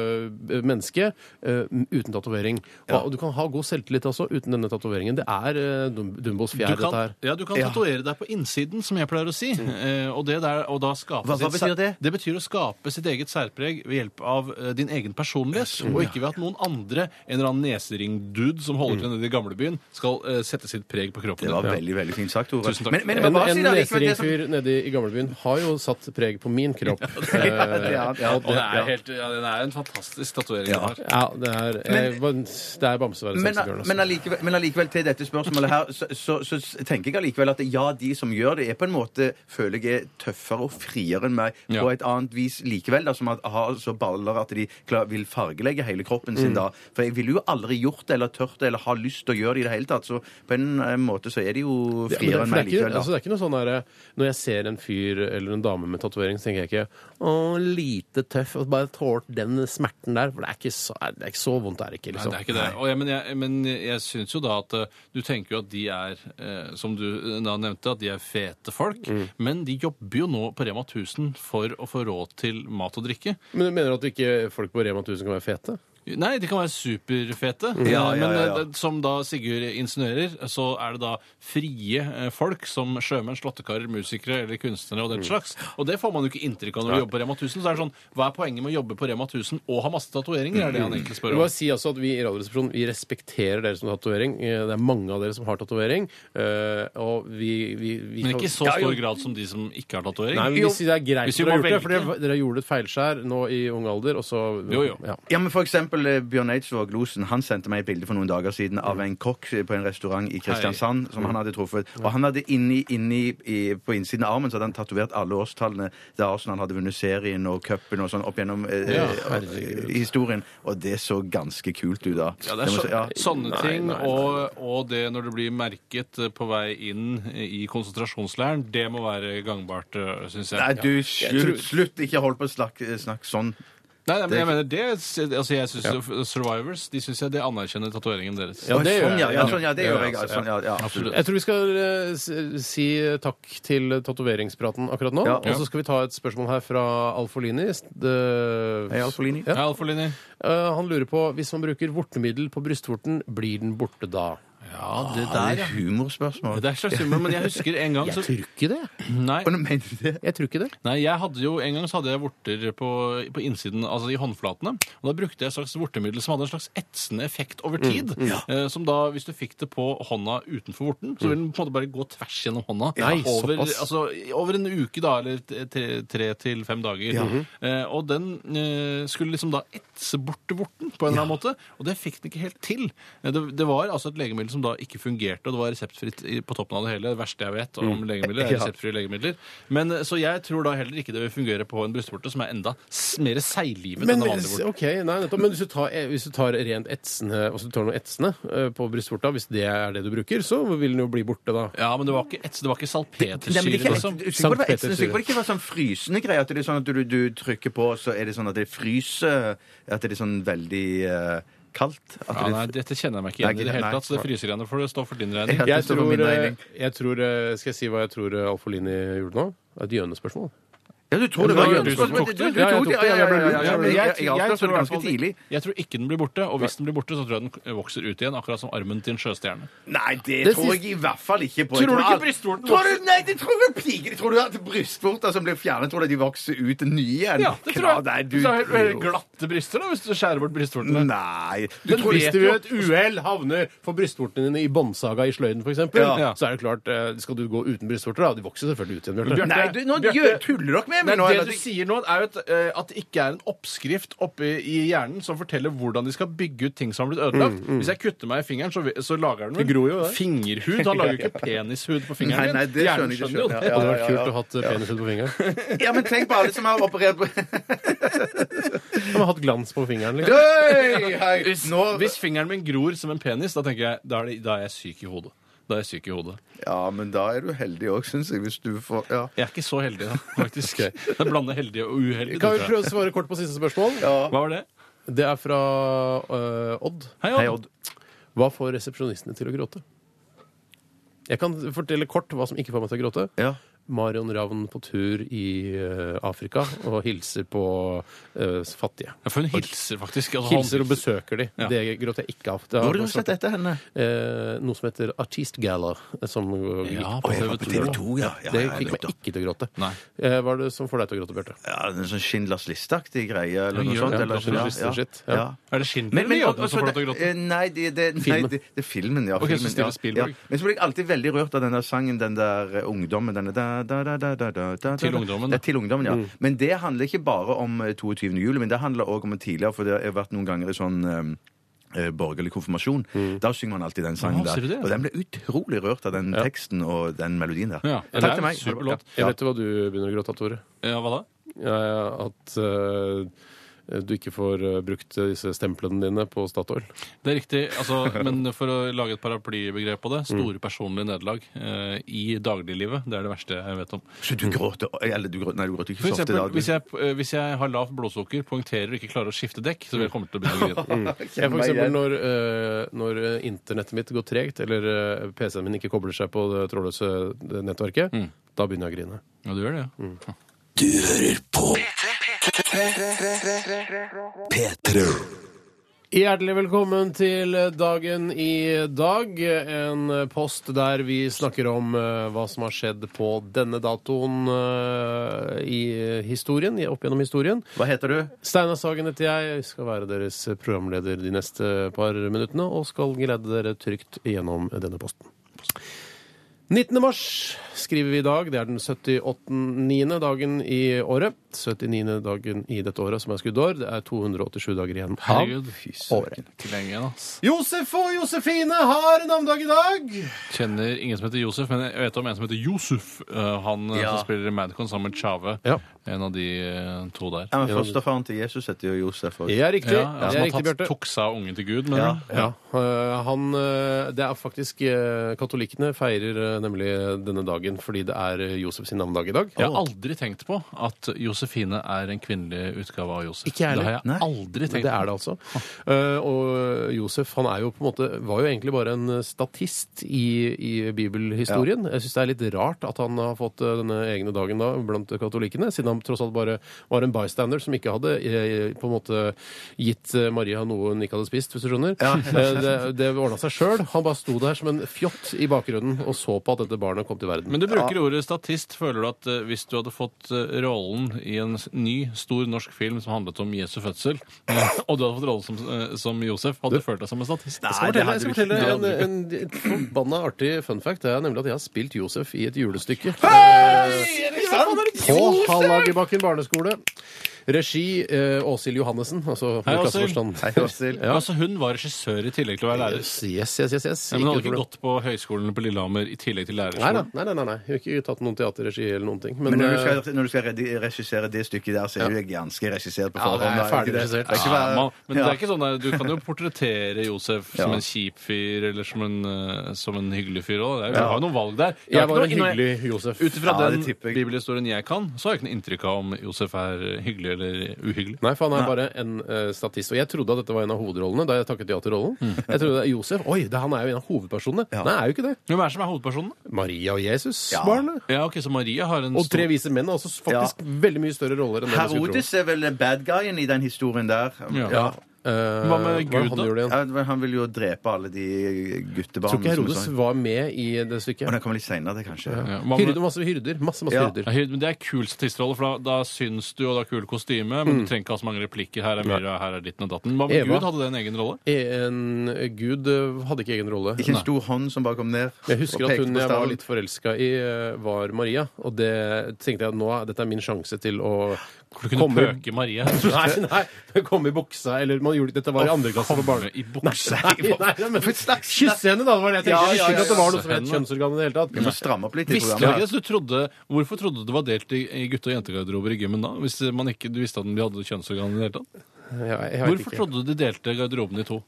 øh, menneske øh, uten tatovering. Og, og du kan ha god selvtillit også uten denne tatoveringen. Det er øh, Dum- Dumbos
Du
fjær,
kan,
dette her.
ja, du kan tatovere deg på innsiden, som jeg pleier å si. Eh, og, det der, og da skape
Mm. Hva- hva
sitt sær-
betyr det?
Det betyr å skape sitt eget særpreg ved hjelp av eh, din egen personlighet, og ikke ved at noen andre, en eller annen nesering-dude som
Mm.
holder til nede i gamlebyen, skal eh, sette sitt preg på kroppen
Det var
din.
veldig, veldig fint sagt, Tore.
Tusen takk.
Men, men jeg må
En,
bare
en
si det allikevel, det
sånn-
som-
neseringfyr nede i gamlebyen har jo satt preg på min kropp. Eh,
Ja, ja,
Og det
ja.
er, helt, ja, det er en fantastisk tatovering.
Ja.
du har.
Ja, det er, eh, det er bamseværet
Men,
sexy girl, altså.
men, allikevel, men allikevel til dette spørsmålet her, så, så, så tenker jeg allikevel at ja, de som gjør det, er på en måte, føler jeg, er tøffere og friere enn meg
Ja.
på et annet vis likevel, da, som at, har så baller at de klar, vil fargelegge hele kroppen
Mm.
sin da. For jeg ville jo aldri gjort det, eller tørt det, eller har lyst til å gjøre det i det hele tatt. Så på en eh, måte så er de
Ja, men
jo
det,
friere
for
enn
det, er
meg
ikke,
likevel.
altså, det
da.
er ikke noe sånn der, Når jeg ser en fyr eller en dame med tatovering, så tenker jeg ikke Å, lite tøff. og Bare tålt den smerten der. For det er ikke så, det er ikke så vondt, er det ikke,
Nei,
liksom.
det er ikke det. Og jeg, men jeg, men jeg syns jo da at eh, du tenker jo at de er, eh, som du eh, da nevnte, at de er fete folk.
Mm.
Men de jobber jo nå på Rema 1000 for å få råd til mat og drikke.
Men du mener at ikke folk på Rema 1000 kan være fete?
Nei, de kan være superfete.
Ja,
eh,
ja,
men
ja, ja.
eh, som da Sigurd insinuerer, så er det da frie eh, folk som sjømenn, slåttekarer, musikere eller kunstnere og
Mm.
den slags. Og det får man jo ikke inntrykk av når du jobber på Rema 1000. Så er det sånn, hva er poenget med å jobbe på Rema 1000 og ha masse tatoveringer, er det han egentlig
Jeg
spør
vil
om.
bare si altså at Vi i Radioresepsjonen vi respekterer dere som har tatovering. Eh, Det er mange av dere som har tatovering. eh, Og vi, vi, vi
Men
kan-
ikke i så
Ja, jo.
stor grad som de som ikke har tatovering.
Nei, men Hvis det er greit
Hvis vi
at dere har
må
gjort det, for dere,
velge.
dere gjorde et feilskjær nå i ung alder, og så
Jo, jo.
Ja.
Ja, men for eksempel eh, Bjørn Eidsvåg Losen han sendte meg et bilde for noen dager siden
Mm.
av en kokk eh, på en restaurant i Kristiansand som han hadde truffet. Og han hadde inni, inni i, på innsiden av armen så hadde han tatovert alle årstallene. Det er også når han hadde vunnet serien og cupen og sånn opp gjennom eh,
Ja,
herregud.
eh, historien. Og det så ganske kult ut da.
Ja, det er
må
så,
si- ja.
sånne
Nei,
ting,
nei, nei.
Og, og det når det blir merket eh, på vei inn i konsentrasjonsleiren, det må være gangbart, syns jeg.
Nei,
Nei,
du, slutt! slutt ikke hold på å snakke, snakke sånn.
nei, men jeg mener det altså, jeg synes, Survivors de synes jeg det anerkjenner tatoveringen deres.
Ja, det gjør
sånn, ja,
jeg.
ja, sånn, ja, det
Ja,
gjør jeg.
ja,
altså,
ja, Sånn, ja, ja, absolutt.
Jeg tror vi skal eh, s- si takk til tatoveringspraten akkurat nå.
Ja.
Og så skal vi ta et spørsmål her fra Alfolini. S- det-
Hei, Alfolini.
Ja.
Hei, Alfolini.
Eh, Han lurer på hvis man bruker vortemiddel på brystvorten, blir den borte da?
Ja, det
Det
der,
er
ja.
humorspørsmål.
Det er slags humor, men jeg husker en gang
Jeg
så,
tror ikke det.
nei,
Hva mener du det?
Jeg tror ikke det.
nei, jeg hadde jo En gang så hadde jeg vorter på, på innsiden, altså i håndflatene. Og da brukte jeg et slags vortemiddel som hadde en slags etsende effekt over
Mm.
tid. eh, som da, hvis du fikk det på hånda utenfor vorten, så ville den på en måte bare gå tvers gjennom hånda.
Mm. Nei,
over,
såpass.
altså, over en uke, da, eller t- tre, tre til fem dager.
Mhm.
eh, og den eh, skulle liksom da etse bort vorten på en eller annen måte, og det fikk den ikke helt til. Eh, Det, det var altså et legemiddel som da ikke fungerte, og det var reseptfritt i- på toppen av det hele. Det verste jeg vet om legemidler, er
Mm. Ja.
reseptfrie legemidler. Men, eh, så jeg tror da heller ikke det vil fungere på en brystvorte som er enda s- mer seiglivet
Men,
enn en vanlig vorte.
ok, nei, nettopp. Men hvis du tar, eh, hvis du tar rent etsende, og så tar noe etsende eh, på brystvorta, hvis det er det du bruker, så vil den jo bli borte da.
Ja, men det var ikke, ets- det var ikke
Nei, men det er
salpetersyre,
ikke-
liksom.
du- sikkert var det
Sankt
etsende, sikkert var det ikke var sånn frysende greie at det er sånn at du, du trykker på, så er det sånn at det fryser At det er sånn veldig eh, kaldt. At
Ja,
det-
nei, dette kjenner jeg meg ikke igjen i det hele
Nei,
tatt, så det frysegreiene får det stå for din regning.
Ja,
Jeg
det står for
tror,
min
eh,
regning.
jeg tror eh, Skal jeg si hva jeg tror eh, Alfolini gjorde nå? Et gjønespørsmål.
Ja, du tror det
Ja,
var
men
du
du som tok det.
tok det? Du, du
Ja, jeg
tok det.
tok
Ja,
det.
ja, ja, ja, ja,
Ja, men
men Jeg
jeg- jeg
jeg
tror
avslørte
i
det
hvert fall
ganske tidlig.
Jeg tror ikke den blir borte, og hvis den blir borte, så tror jeg den vokser ut igjen, akkurat som armen til en sjøstjerne.
Nei, det,
Det
tror jeg i hvert fall ikke på. Jeg
Tror du ikke
alt-
brystvorten
Tror du, nei, det tror du piker. Tror du at brystvorter som blir fjernet, tror du de vokser ut nye igjen? Klar, Nei, du, Mm,
glatte bryster da, hvis du skjærer bort brystvortene.
Nei. Du
Men
tror
hvis du ved et uhell havner for brystvortene dine i båndsaga i sløyden, f.eks.,
Ja.
så er det klart eh, Skal du gå uten brystvorter, da? De vokser selvfølgelig ut igjen, Bjørte.
Nei, du, nå
Bjarte-
gjør- tuller dere med
Nei,
meg nå.
det
eller?
du sier nå, er jo at, eh, at det ikke er en oppskrift oppe i hjernen som forteller hvordan de skal bygge ut ting som har blitt ødelagt.
Mm,
Hvis jeg kutter meg i fingeren, så, vi- så lager den
Det gror jo, det.
fingerhud. Han lager jo ikke penishud på fingeren
Nei,
din.
nei, det
Hjernen
skjønner jeg
skjønner jo
ikke.
det.
Ja,
Hadde
ja,
vært
ja,
kult
ja.
å ha hatt eh, penishud på fingeren.
Ja, men tenk på alle som har operert på
Kan ha hatt glans på fingeren. Liksom.
Hei, hei. Nå
Hvis fingeren min gror som en penis, da tenker jeg, da er, det, da er jeg syk i hodet. Da er jeg syk i hodet.
Ja, men da er du heldig òg, syns jeg. Hvis du får ja.
Jeg er ikke så heldig, da, faktisk. Jeg blander heldig og uheldig.
Kan vi
tror jeg.
prøve å svare kort på siste spørsmål?
Hva var det?
Det er fra eh, Odd.
Hei,
Hei, Odd.
Hva får resepsjonistene til å gråte? Jeg kan fortelle kort hva som ikke får meg til å gråte.
Ja.
Marion Ravn på tur i eh, Afrika og hilser på eh, fattige.
Ja, for hun hilser faktisk. Altså,
Hilser og besøker de.
Ja.
Det gråter jeg ikke av. Det
Hvor har du sett etter henne?
Eh, noe som heter Artist Gala, som går
Ja,
gikk.
på
Å, jeg var
TV 2.
på TV2, ja. Ja,
Det
ja,
fikk meg
nettopp.
ikke til å gråte.
Nei.
Eh, hva er det som får deg til å gråte, Bjarte?
Ja, det er en sånn Schindlers liste-aktig greie eller noe
gjør
sånt.
det,
Eller, sånn,
Schindlers
liste shit, ja.
Er det Schindler eller Jøden som får deg til å gråte?
eh, Nei, det, det, nei
Filmen.
det, det er filmen, ja.
Ok, så
filmen,
Steven
ja,
Spielberg.
Ja. Men så blir jeg alltid veldig rørt av den der sangen, den der eh, ungdommen denne da, da, da, da, da, da, da,
Til ungdommen, Mm.
Ja,
da.
til ungdommen, ja. Men det handler ikke bare om eh, 22. juli, men det handler også om tidligere, for det har vært noen ganger i sånn eh, eh, borgerlig konfirmasjon. Da synger man alltid den sangen
Mm. Ja, ser du
der.
det?
Og den ble utrolig rørt av den teksten og den melodien der.
Ja, det
Takk
er
til meg.
superlåt.
Jeg
Ja.
vet jo hva du begynner å gråte av, Tore.
Ja, hva da?
eh, at eh, du ikke får eh, brukt disse stemplene dine på Statoil.
Det er riktig, altså, men for å lage et paraplybegrep på det store personlige nederlag eh, i dagliglivet. Det er det verste jeg vet om.
Så du gråter Eller du gråter, nei, du gråter
Mm.
ikke
For
så ofte i
eksempel,
dag.
hvis jeg, eh, hvis jeg har lavt blodsukker, poengterer og ikke klarer å skifte dekk, så vil jeg komme til å begynne å grine.
Mm.
Jeg, for eksempel når, eh, når eh, internettet mitt går tregt, eller eh, PC-en min ikke kobler seg på det trådløse eh, nettverket, da begynner jeg å grine.
Ja, du gjør det, ja.
Mm.
Hjertelig velkommen til dagen i dag. En post der vi snakker om eh, hva som har skjedd på denne datoen eh, i historien, i- opp gjennom historien.
Hva heter du?
Steinar Sagen heter jeg, skal være deres programleder de neste par minuttene og skal glede dere trygt gjennom denne posten. 19. mars skriver vi i dag. Det er den 78. dagen i året. 79. dagen i dette året som er skuddår. Det er 287 dager igjen av
Herregud.
året.
Ikke lenge igjen, ass.
Josef og Josefine har navnedag i dag!
Kjenner ingen som heter Josef, men jeg vet om en som heter Josef. eh, han eh,
Ja.
som spiller i Madcon sammen med Chave.
Ja.
En av de eh, to der.
Ja, men Fosterfaren til Jesus heter jo Josef. Og...
Det er riktig.
Ja,
det
ja, som
er
har
riktig,
tatt
Bjarte.
tuksa ungen til Gud. Men,
Ja.
Ja, øh, han, øh, det er faktisk øh, Katolikkene feirer øh, nemlig denne dagen fordi det er øh, Josef sin navnedag i dag.
Jeg har aldri tenkt på at Josefine er en kvinnelig utgave av Josef.
Ikke jeg heller.
Det har jeg
Nei.
aldri
Men
tenkt
Det er det
på.
altså. Eh, og Josef han er jo på en måte, var jo egentlig bare en statist i, i bibelhistorien. Jeg syns det er litt rart at han har fått eh, denne egne dagen da blant katolikkene, siden han tross alt bare var en bystander som ikke hadde eh, på en måte gitt eh, Maria noe hun ikke hadde spist, hvis du skjønner. Eh, det det ordna seg sjøl. Han bare sto der som en fjott i bakgrunnen og så på at dette barnet kom til verden.
Men du bruker ordet statist. Føler du at eh, hvis du hadde fått eh, rollen i en s- ny, stor norsk film som handlet om Jesu fødsel, og du hadde fått rollen som, eh, som Josef, hadde du følt deg som en statist?
Nei,
Jeg skal fortelle, jeg
det hadde
skal
du ikke.
fortelle
Det
en,
hadde du
en, en forbanna artig fun fact. Det er nemlig at jeg har spilt Josef i et julestykke. Eh, På Hallagerbakken barneskole. Regi eh, Åshild Johannessen. Altså
Hei, Åshild.
klasseforstand.
Hei, Åshild.
Ja. Altså, hun var regissør i tillegg til å være lærer.
Yes, yes, yes. yes.
Ja, men hun hadde
Ikke noe
ikke
problem.
gått på høyskolen på Lillehammer i tillegg til
Nei, da.
lærerskolen.
nei, nei, nei, nei. Jeg har ikke tatt noen teaterregi eller noen ting. Men,
Men når du
eh,
skal, når du skal redi- regissere det stykket der, så er du ganske regissert på
Ja, det er
forhånd. da,
ferdig
ikke det?
regissert.
Det er ikke
Ja,
bare-
man, men det
Ja.
er ikke sånn der, Du kan jo portrettere Josef som
Ja.
en kjip fyr, eller som en, eh, som en hyggelig fyr òg. Du har jo noen valg der. Det er
jeg
ikke
var
noe-
en hyggelig Josef.
Ut ifra
Ja, det
den
tipper jeg.
bibelhistorien jeg kan, så har jeg ikke noe inntrykk av om Josef er hyggelig eller uhyggelig.
Nei, for han er bare en eh, statist. Og jeg trodde at dette var en av hovedrollene da jeg takket ja til rollen.
Mm.
Jeg trodde at Josef Oi, det, han er jo en av hovedpersonene. Nei, er jo ikke det.
Hvem er det som er hovedpersonen?
Maria og Jesus,
Ja.
barnet.
Ja, ok, Så Maria har en
Og Tre vise menn har også faktisk veldig mye større roller enn det man skulle tro.
Herodes er vel bad guyen i den historien der.
Ja.
Ja. Eh,
Hva med
var det
Gud,
han
da?
gjorde igjen?
Ja, men Han vil jo drepe alle de guttebarna.
Tror ikke
som
Herodes
er sånn.
var med i det
Å,
stykket.
den kommer litt senere, det, kanskje.
Ja, hva med-
Hyrde masse hyrder. Masse, masse
Ja.
hyrder.
Ja, Hyrde, men Det er kul statistrolle, for da, da syns du, og det er kul kostyme, men du trenger ikke ha så mange replikker. Her er Myra, her er ditten og datten. Hva med
Mm. Eva?
Gud? Hadde det en egen rolle?
En gud eh, hadde ikke egen rolle.
Ikke en stor hånd som bare kom ned
Jeg husker
og
at
pekte
hun
på
jeg var
staven.
litt forelska i, eh, var Maria. Og det tenkte jeg at nå er- dette er min sjanse til å
For du
komme
kunne pøke Maria.
Nei, nei, komme i buksa, eller man gjorde Dette var i andre klasse på barne...
I buksa.
Nei, nei, nei, men Kysse henne, da! Det var det jeg tenkte.
Ja,
Jeg visste
ja, ja,
ikke at det var
ja.
noe som het kjønnsorgan i det hele
Vi må
tatt.
stramme opp litt i
Visste du ikke
programmet.
det? Så du trodde, hvorfor trodde du det var delt i, i gutte- og jentegarderober i gymmen da? Hvis man ikke du visste at de hadde kjønnsorgan i det hele tatt?
Ja, jeg vet
Hvorfor
ikke.
trodde du de delte garderoben i to?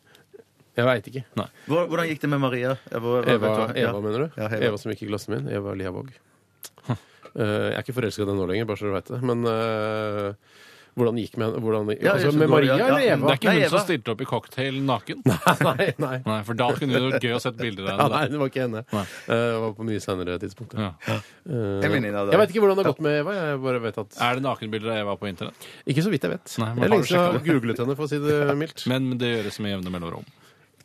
Jeg veit ikke.
Hvor- Hvordan gikk det med Maria? Jeg var- jeg
Eva,
vet hva- ja.
Eva mener du?
Ja,
Eva. som gikk i klassen min. Eva Liavåg. Eh, jeg er ikke forelska i henne nå lenger, bare så du veit det. Men eh, hvordan gikk med henne? Hvordan,
Ja,
altså,
så
med
går det,
Maria
ja.
eller Eva?
Det er ikke
Nei,
hun som
Eva.
stilte opp i cocktail naken?
nei, nei.
Nei, for da kunne det vært gøy å sette bilder
Ja,
av
nei,
henne.
det var ikke henne.
Nei.
Eh, det var på mye senere tidspunkt.
Ja.
Eh,
Jeg mener det, det.
jeg veit ikke hvordan det har gått med Eva. Jeg bare vet at
Er det nakenbilder av Eva på internett?
Ikke så vidt jeg vet.
Nei, men
jeg
har
lenge
du
siden jeg
sjekket
har googlet henne, for å si det mildt.
Men men det gjøres med jevne mellomrom.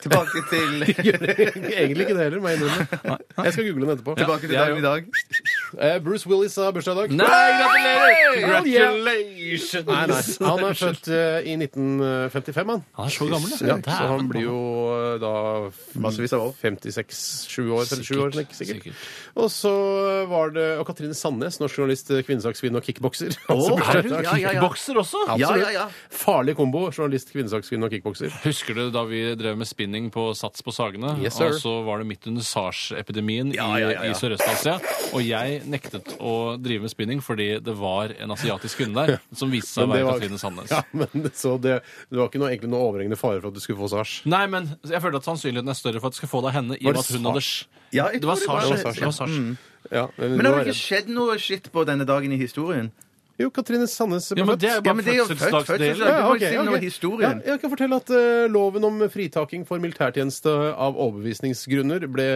Tilbake til,
Egentlig ikke det heller, må jeg innrømme. Jeg skal google henne etterpå.
tilbake til
Ja,
dagen i dag.
Eh, Bruce Willis har bursdag i dag.
gratulerer!
Nei, nei. Han er født eh, i 1955, han.
Han er så gammel,
Ja, så han blir jo eh, da f-
Massevis av år.
56-7 år, 37 år, ikke sikkert.
Sikkert.
Og så eh, var det og Katrine Sandnes, norsk journalist, kvinnesakskvinne og kickbokser. Altså,
Å,
bursdag i dag.
ja, ja, ja.
Bokser også?
Ja, ja,
Absolutt.
ja.
Farlig kombo, journalist, kvinnesakskvinne og kickbokser.
Husker du da vi drev med spinning på Sats på Sagene?
Yes, sir.
og så var det midt under SARS-epidemien
Ja, ja, ja,
i,
ja.
i Sørøst-Asia. Og jeg nektet å drive med spinning fordi det var en asiatisk kvinne der som viste seg å
Men det
være
var-
Katrine Sandnes.
Ja, men det- så det, det var ikke noe, egentlig noe overhengende fare for at du skulle få sars.
Nei, men jeg føler at sannsynligheten er større for at du skal få deg henne i og med
det
at hun
sars?
hadde sj-
Ja, jeg
Det var
tror det
sars.
var
Det
sars,
var Mm. sars.
Ja, men,
Men
du
har
var
det ikke
redd.
skjedd noe skitt på denne dagen i historien?
Jo, Katrine Sandnes ble
Ja, men
født.
det er jo
Ja,
bare
men det er jo født, født,
fødselsdagsdelen.
født.
Ja,
må
ok,
si noe
ok.
historien.
Ja, jeg kan fortelle at eh, loven om fritaking for militærtjeneste av overbevisningsgrunner ble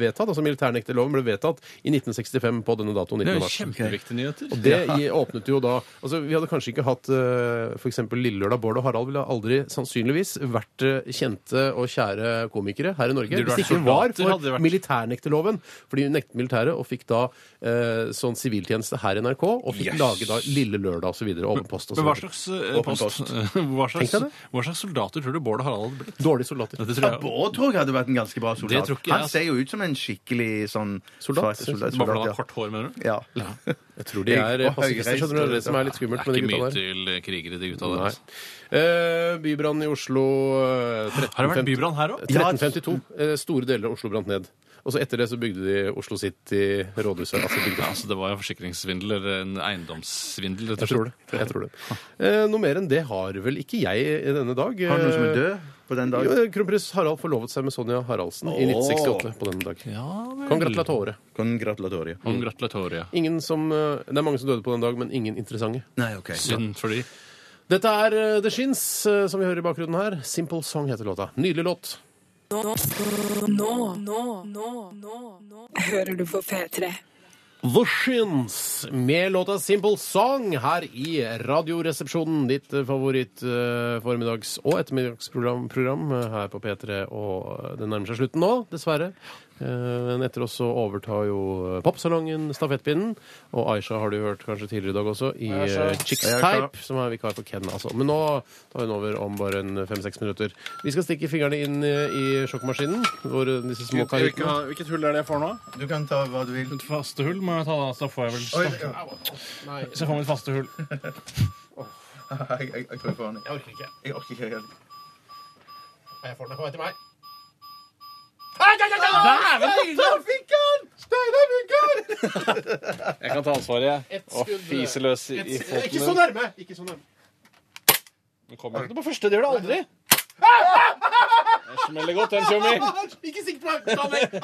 vedtatt, altså militærnekterloven ble vedtatt i 1965 på denne datoen.
Det
19.
er jo
mars.
kjempeviktige nyheter.
Og det i- åpnet jo da altså Vi hadde kanskje ikke hatt eh, for f.eks. Lillelørdag. Bård og Harald ville aldri sannsynligvis vært eh, kjente og kjære komikere her i Norge
Burde
hvis
vært
det ikke var
soldater, hadde de
for
vært.
militærnekterloven. For de nektet militæret og fikk da eh, sånn siviltjeneste her i NRK og fikk lage da Lille Lørdag osv. Åpen post og så
Men hva
videre.
slags, eh, post, hva, slags,
Tenk deg det.
hva slags soldater tror du Bård og Harald hadde blitt?
Dårlige soldater.
Ja, Det
Ja,
tror jeg.
Bård tror jeg hadde vært en ganske bra soldat.
Det tror ikke jeg,
Han
altså.
ser jo ut som en skikkelig sånn
Soldat,
svart-
synes jeg.
Bare fordi
soldat,
han
soldat,
har kort hår, mener du?
ja. ja.
Jeg tror de er
Og
pasifister,
høyreist,
skjønner du. Det er det som er litt
Det
skummelt
er
med de
ikke
gutta
mye
der.
til krigere, de gutta der.
Nei.
altså.
Eh, Bybrannen i Oslo eh,
Har det vært
1350
bybrann her òg?
1352. eh, Store deler av Oslo brant ned. Og så etter det så bygde de Oslo City, rådhuset. Altså bygde
Ja, altså, det var jo forsikringssvindel eller en eiendomssvindel. rett og
Jeg tror det. Jeg tror det. Eh, Noe mer enn det har vel ikke jeg i denne dag. Eh,
Har du noen som er død på den
Jo,
dagen?
Kronprins Harald forlovet seg med Sonja Haraldsen i 1968 på denne dag.
slett. Ja, vel. Mm.
Congratulatore.
Congratulatoria.
Congratulatoria.
Ingen som, eh, det er mange som døde på den dag, men ingen interessante.
Nei, OK.
Synd for de.
Dette er eh, The Shins, eh, som vi hører i bakgrunnen her. Simple Song heter låta. Nydelig låt.
Nå, nå, nå, nå, nå hører du på P3.
The Shins med låta Simple Song her i Radioresepsjonen. Ditt eh, favoritt eh, formiddags- og ettermiddagsprogram program, eh, her på P3. Og eh, det nærmer seg slutten nå, dessverre. Eh, Men etter oss så overtar jo eh, Popsalongen stafettpinnen. Og Aisha har du hørt kanskje tidligere i dag også, i eh, Chicks Type, som er vikar for Ken. altså. Men nå tar hun over om bare en fem-seks minutter. Vi skal stikke fingrene inn eh, i sjokkmaskinen, hvor eh, disse små karikkene
Hvilket hull er det jeg får nå?
Du kan ta hva du vil.
Et faste hull må jeg ta, da. Så da får jeg vel stopp. Så jeg får mitt faste hull.
Jeg, jeg, jeg tror jeg får den.
Jeg orker ikke.
Jeg orker ikke helt.
Jeg får den på vei til meg.
Der fikk han! Steinar fikk han!
Jeg kan ta ansvaret, jeg.
Ett skudd.
fiseløs i i
Ikke så nærme! Ikke så nærme.
Den kommer ikke på første, det gjør det aldri. Den smeller godt, den, Tjommi.
Ikke sikt på meg! Ta meg!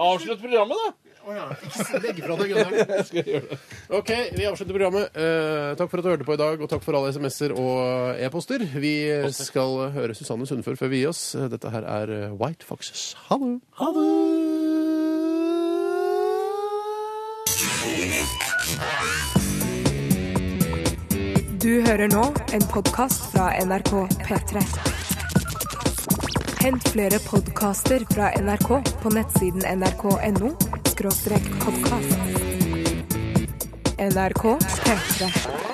Avslutt programmet, da.
Legg fra deg gunneren. OK, vi avslutter programmet. Eh, takk for at du hørte på i dag, og takk for alle SMS-er og e-poster. Vi skal høre Susanne Sundfør før vi gir oss. Dette her er White Foxes. Ha det! Ha det!
Du hører nå en podkast fra NRK P3. Hent flere podkaster fra NRK på nettsiden nrk.no podkast. NRK P3.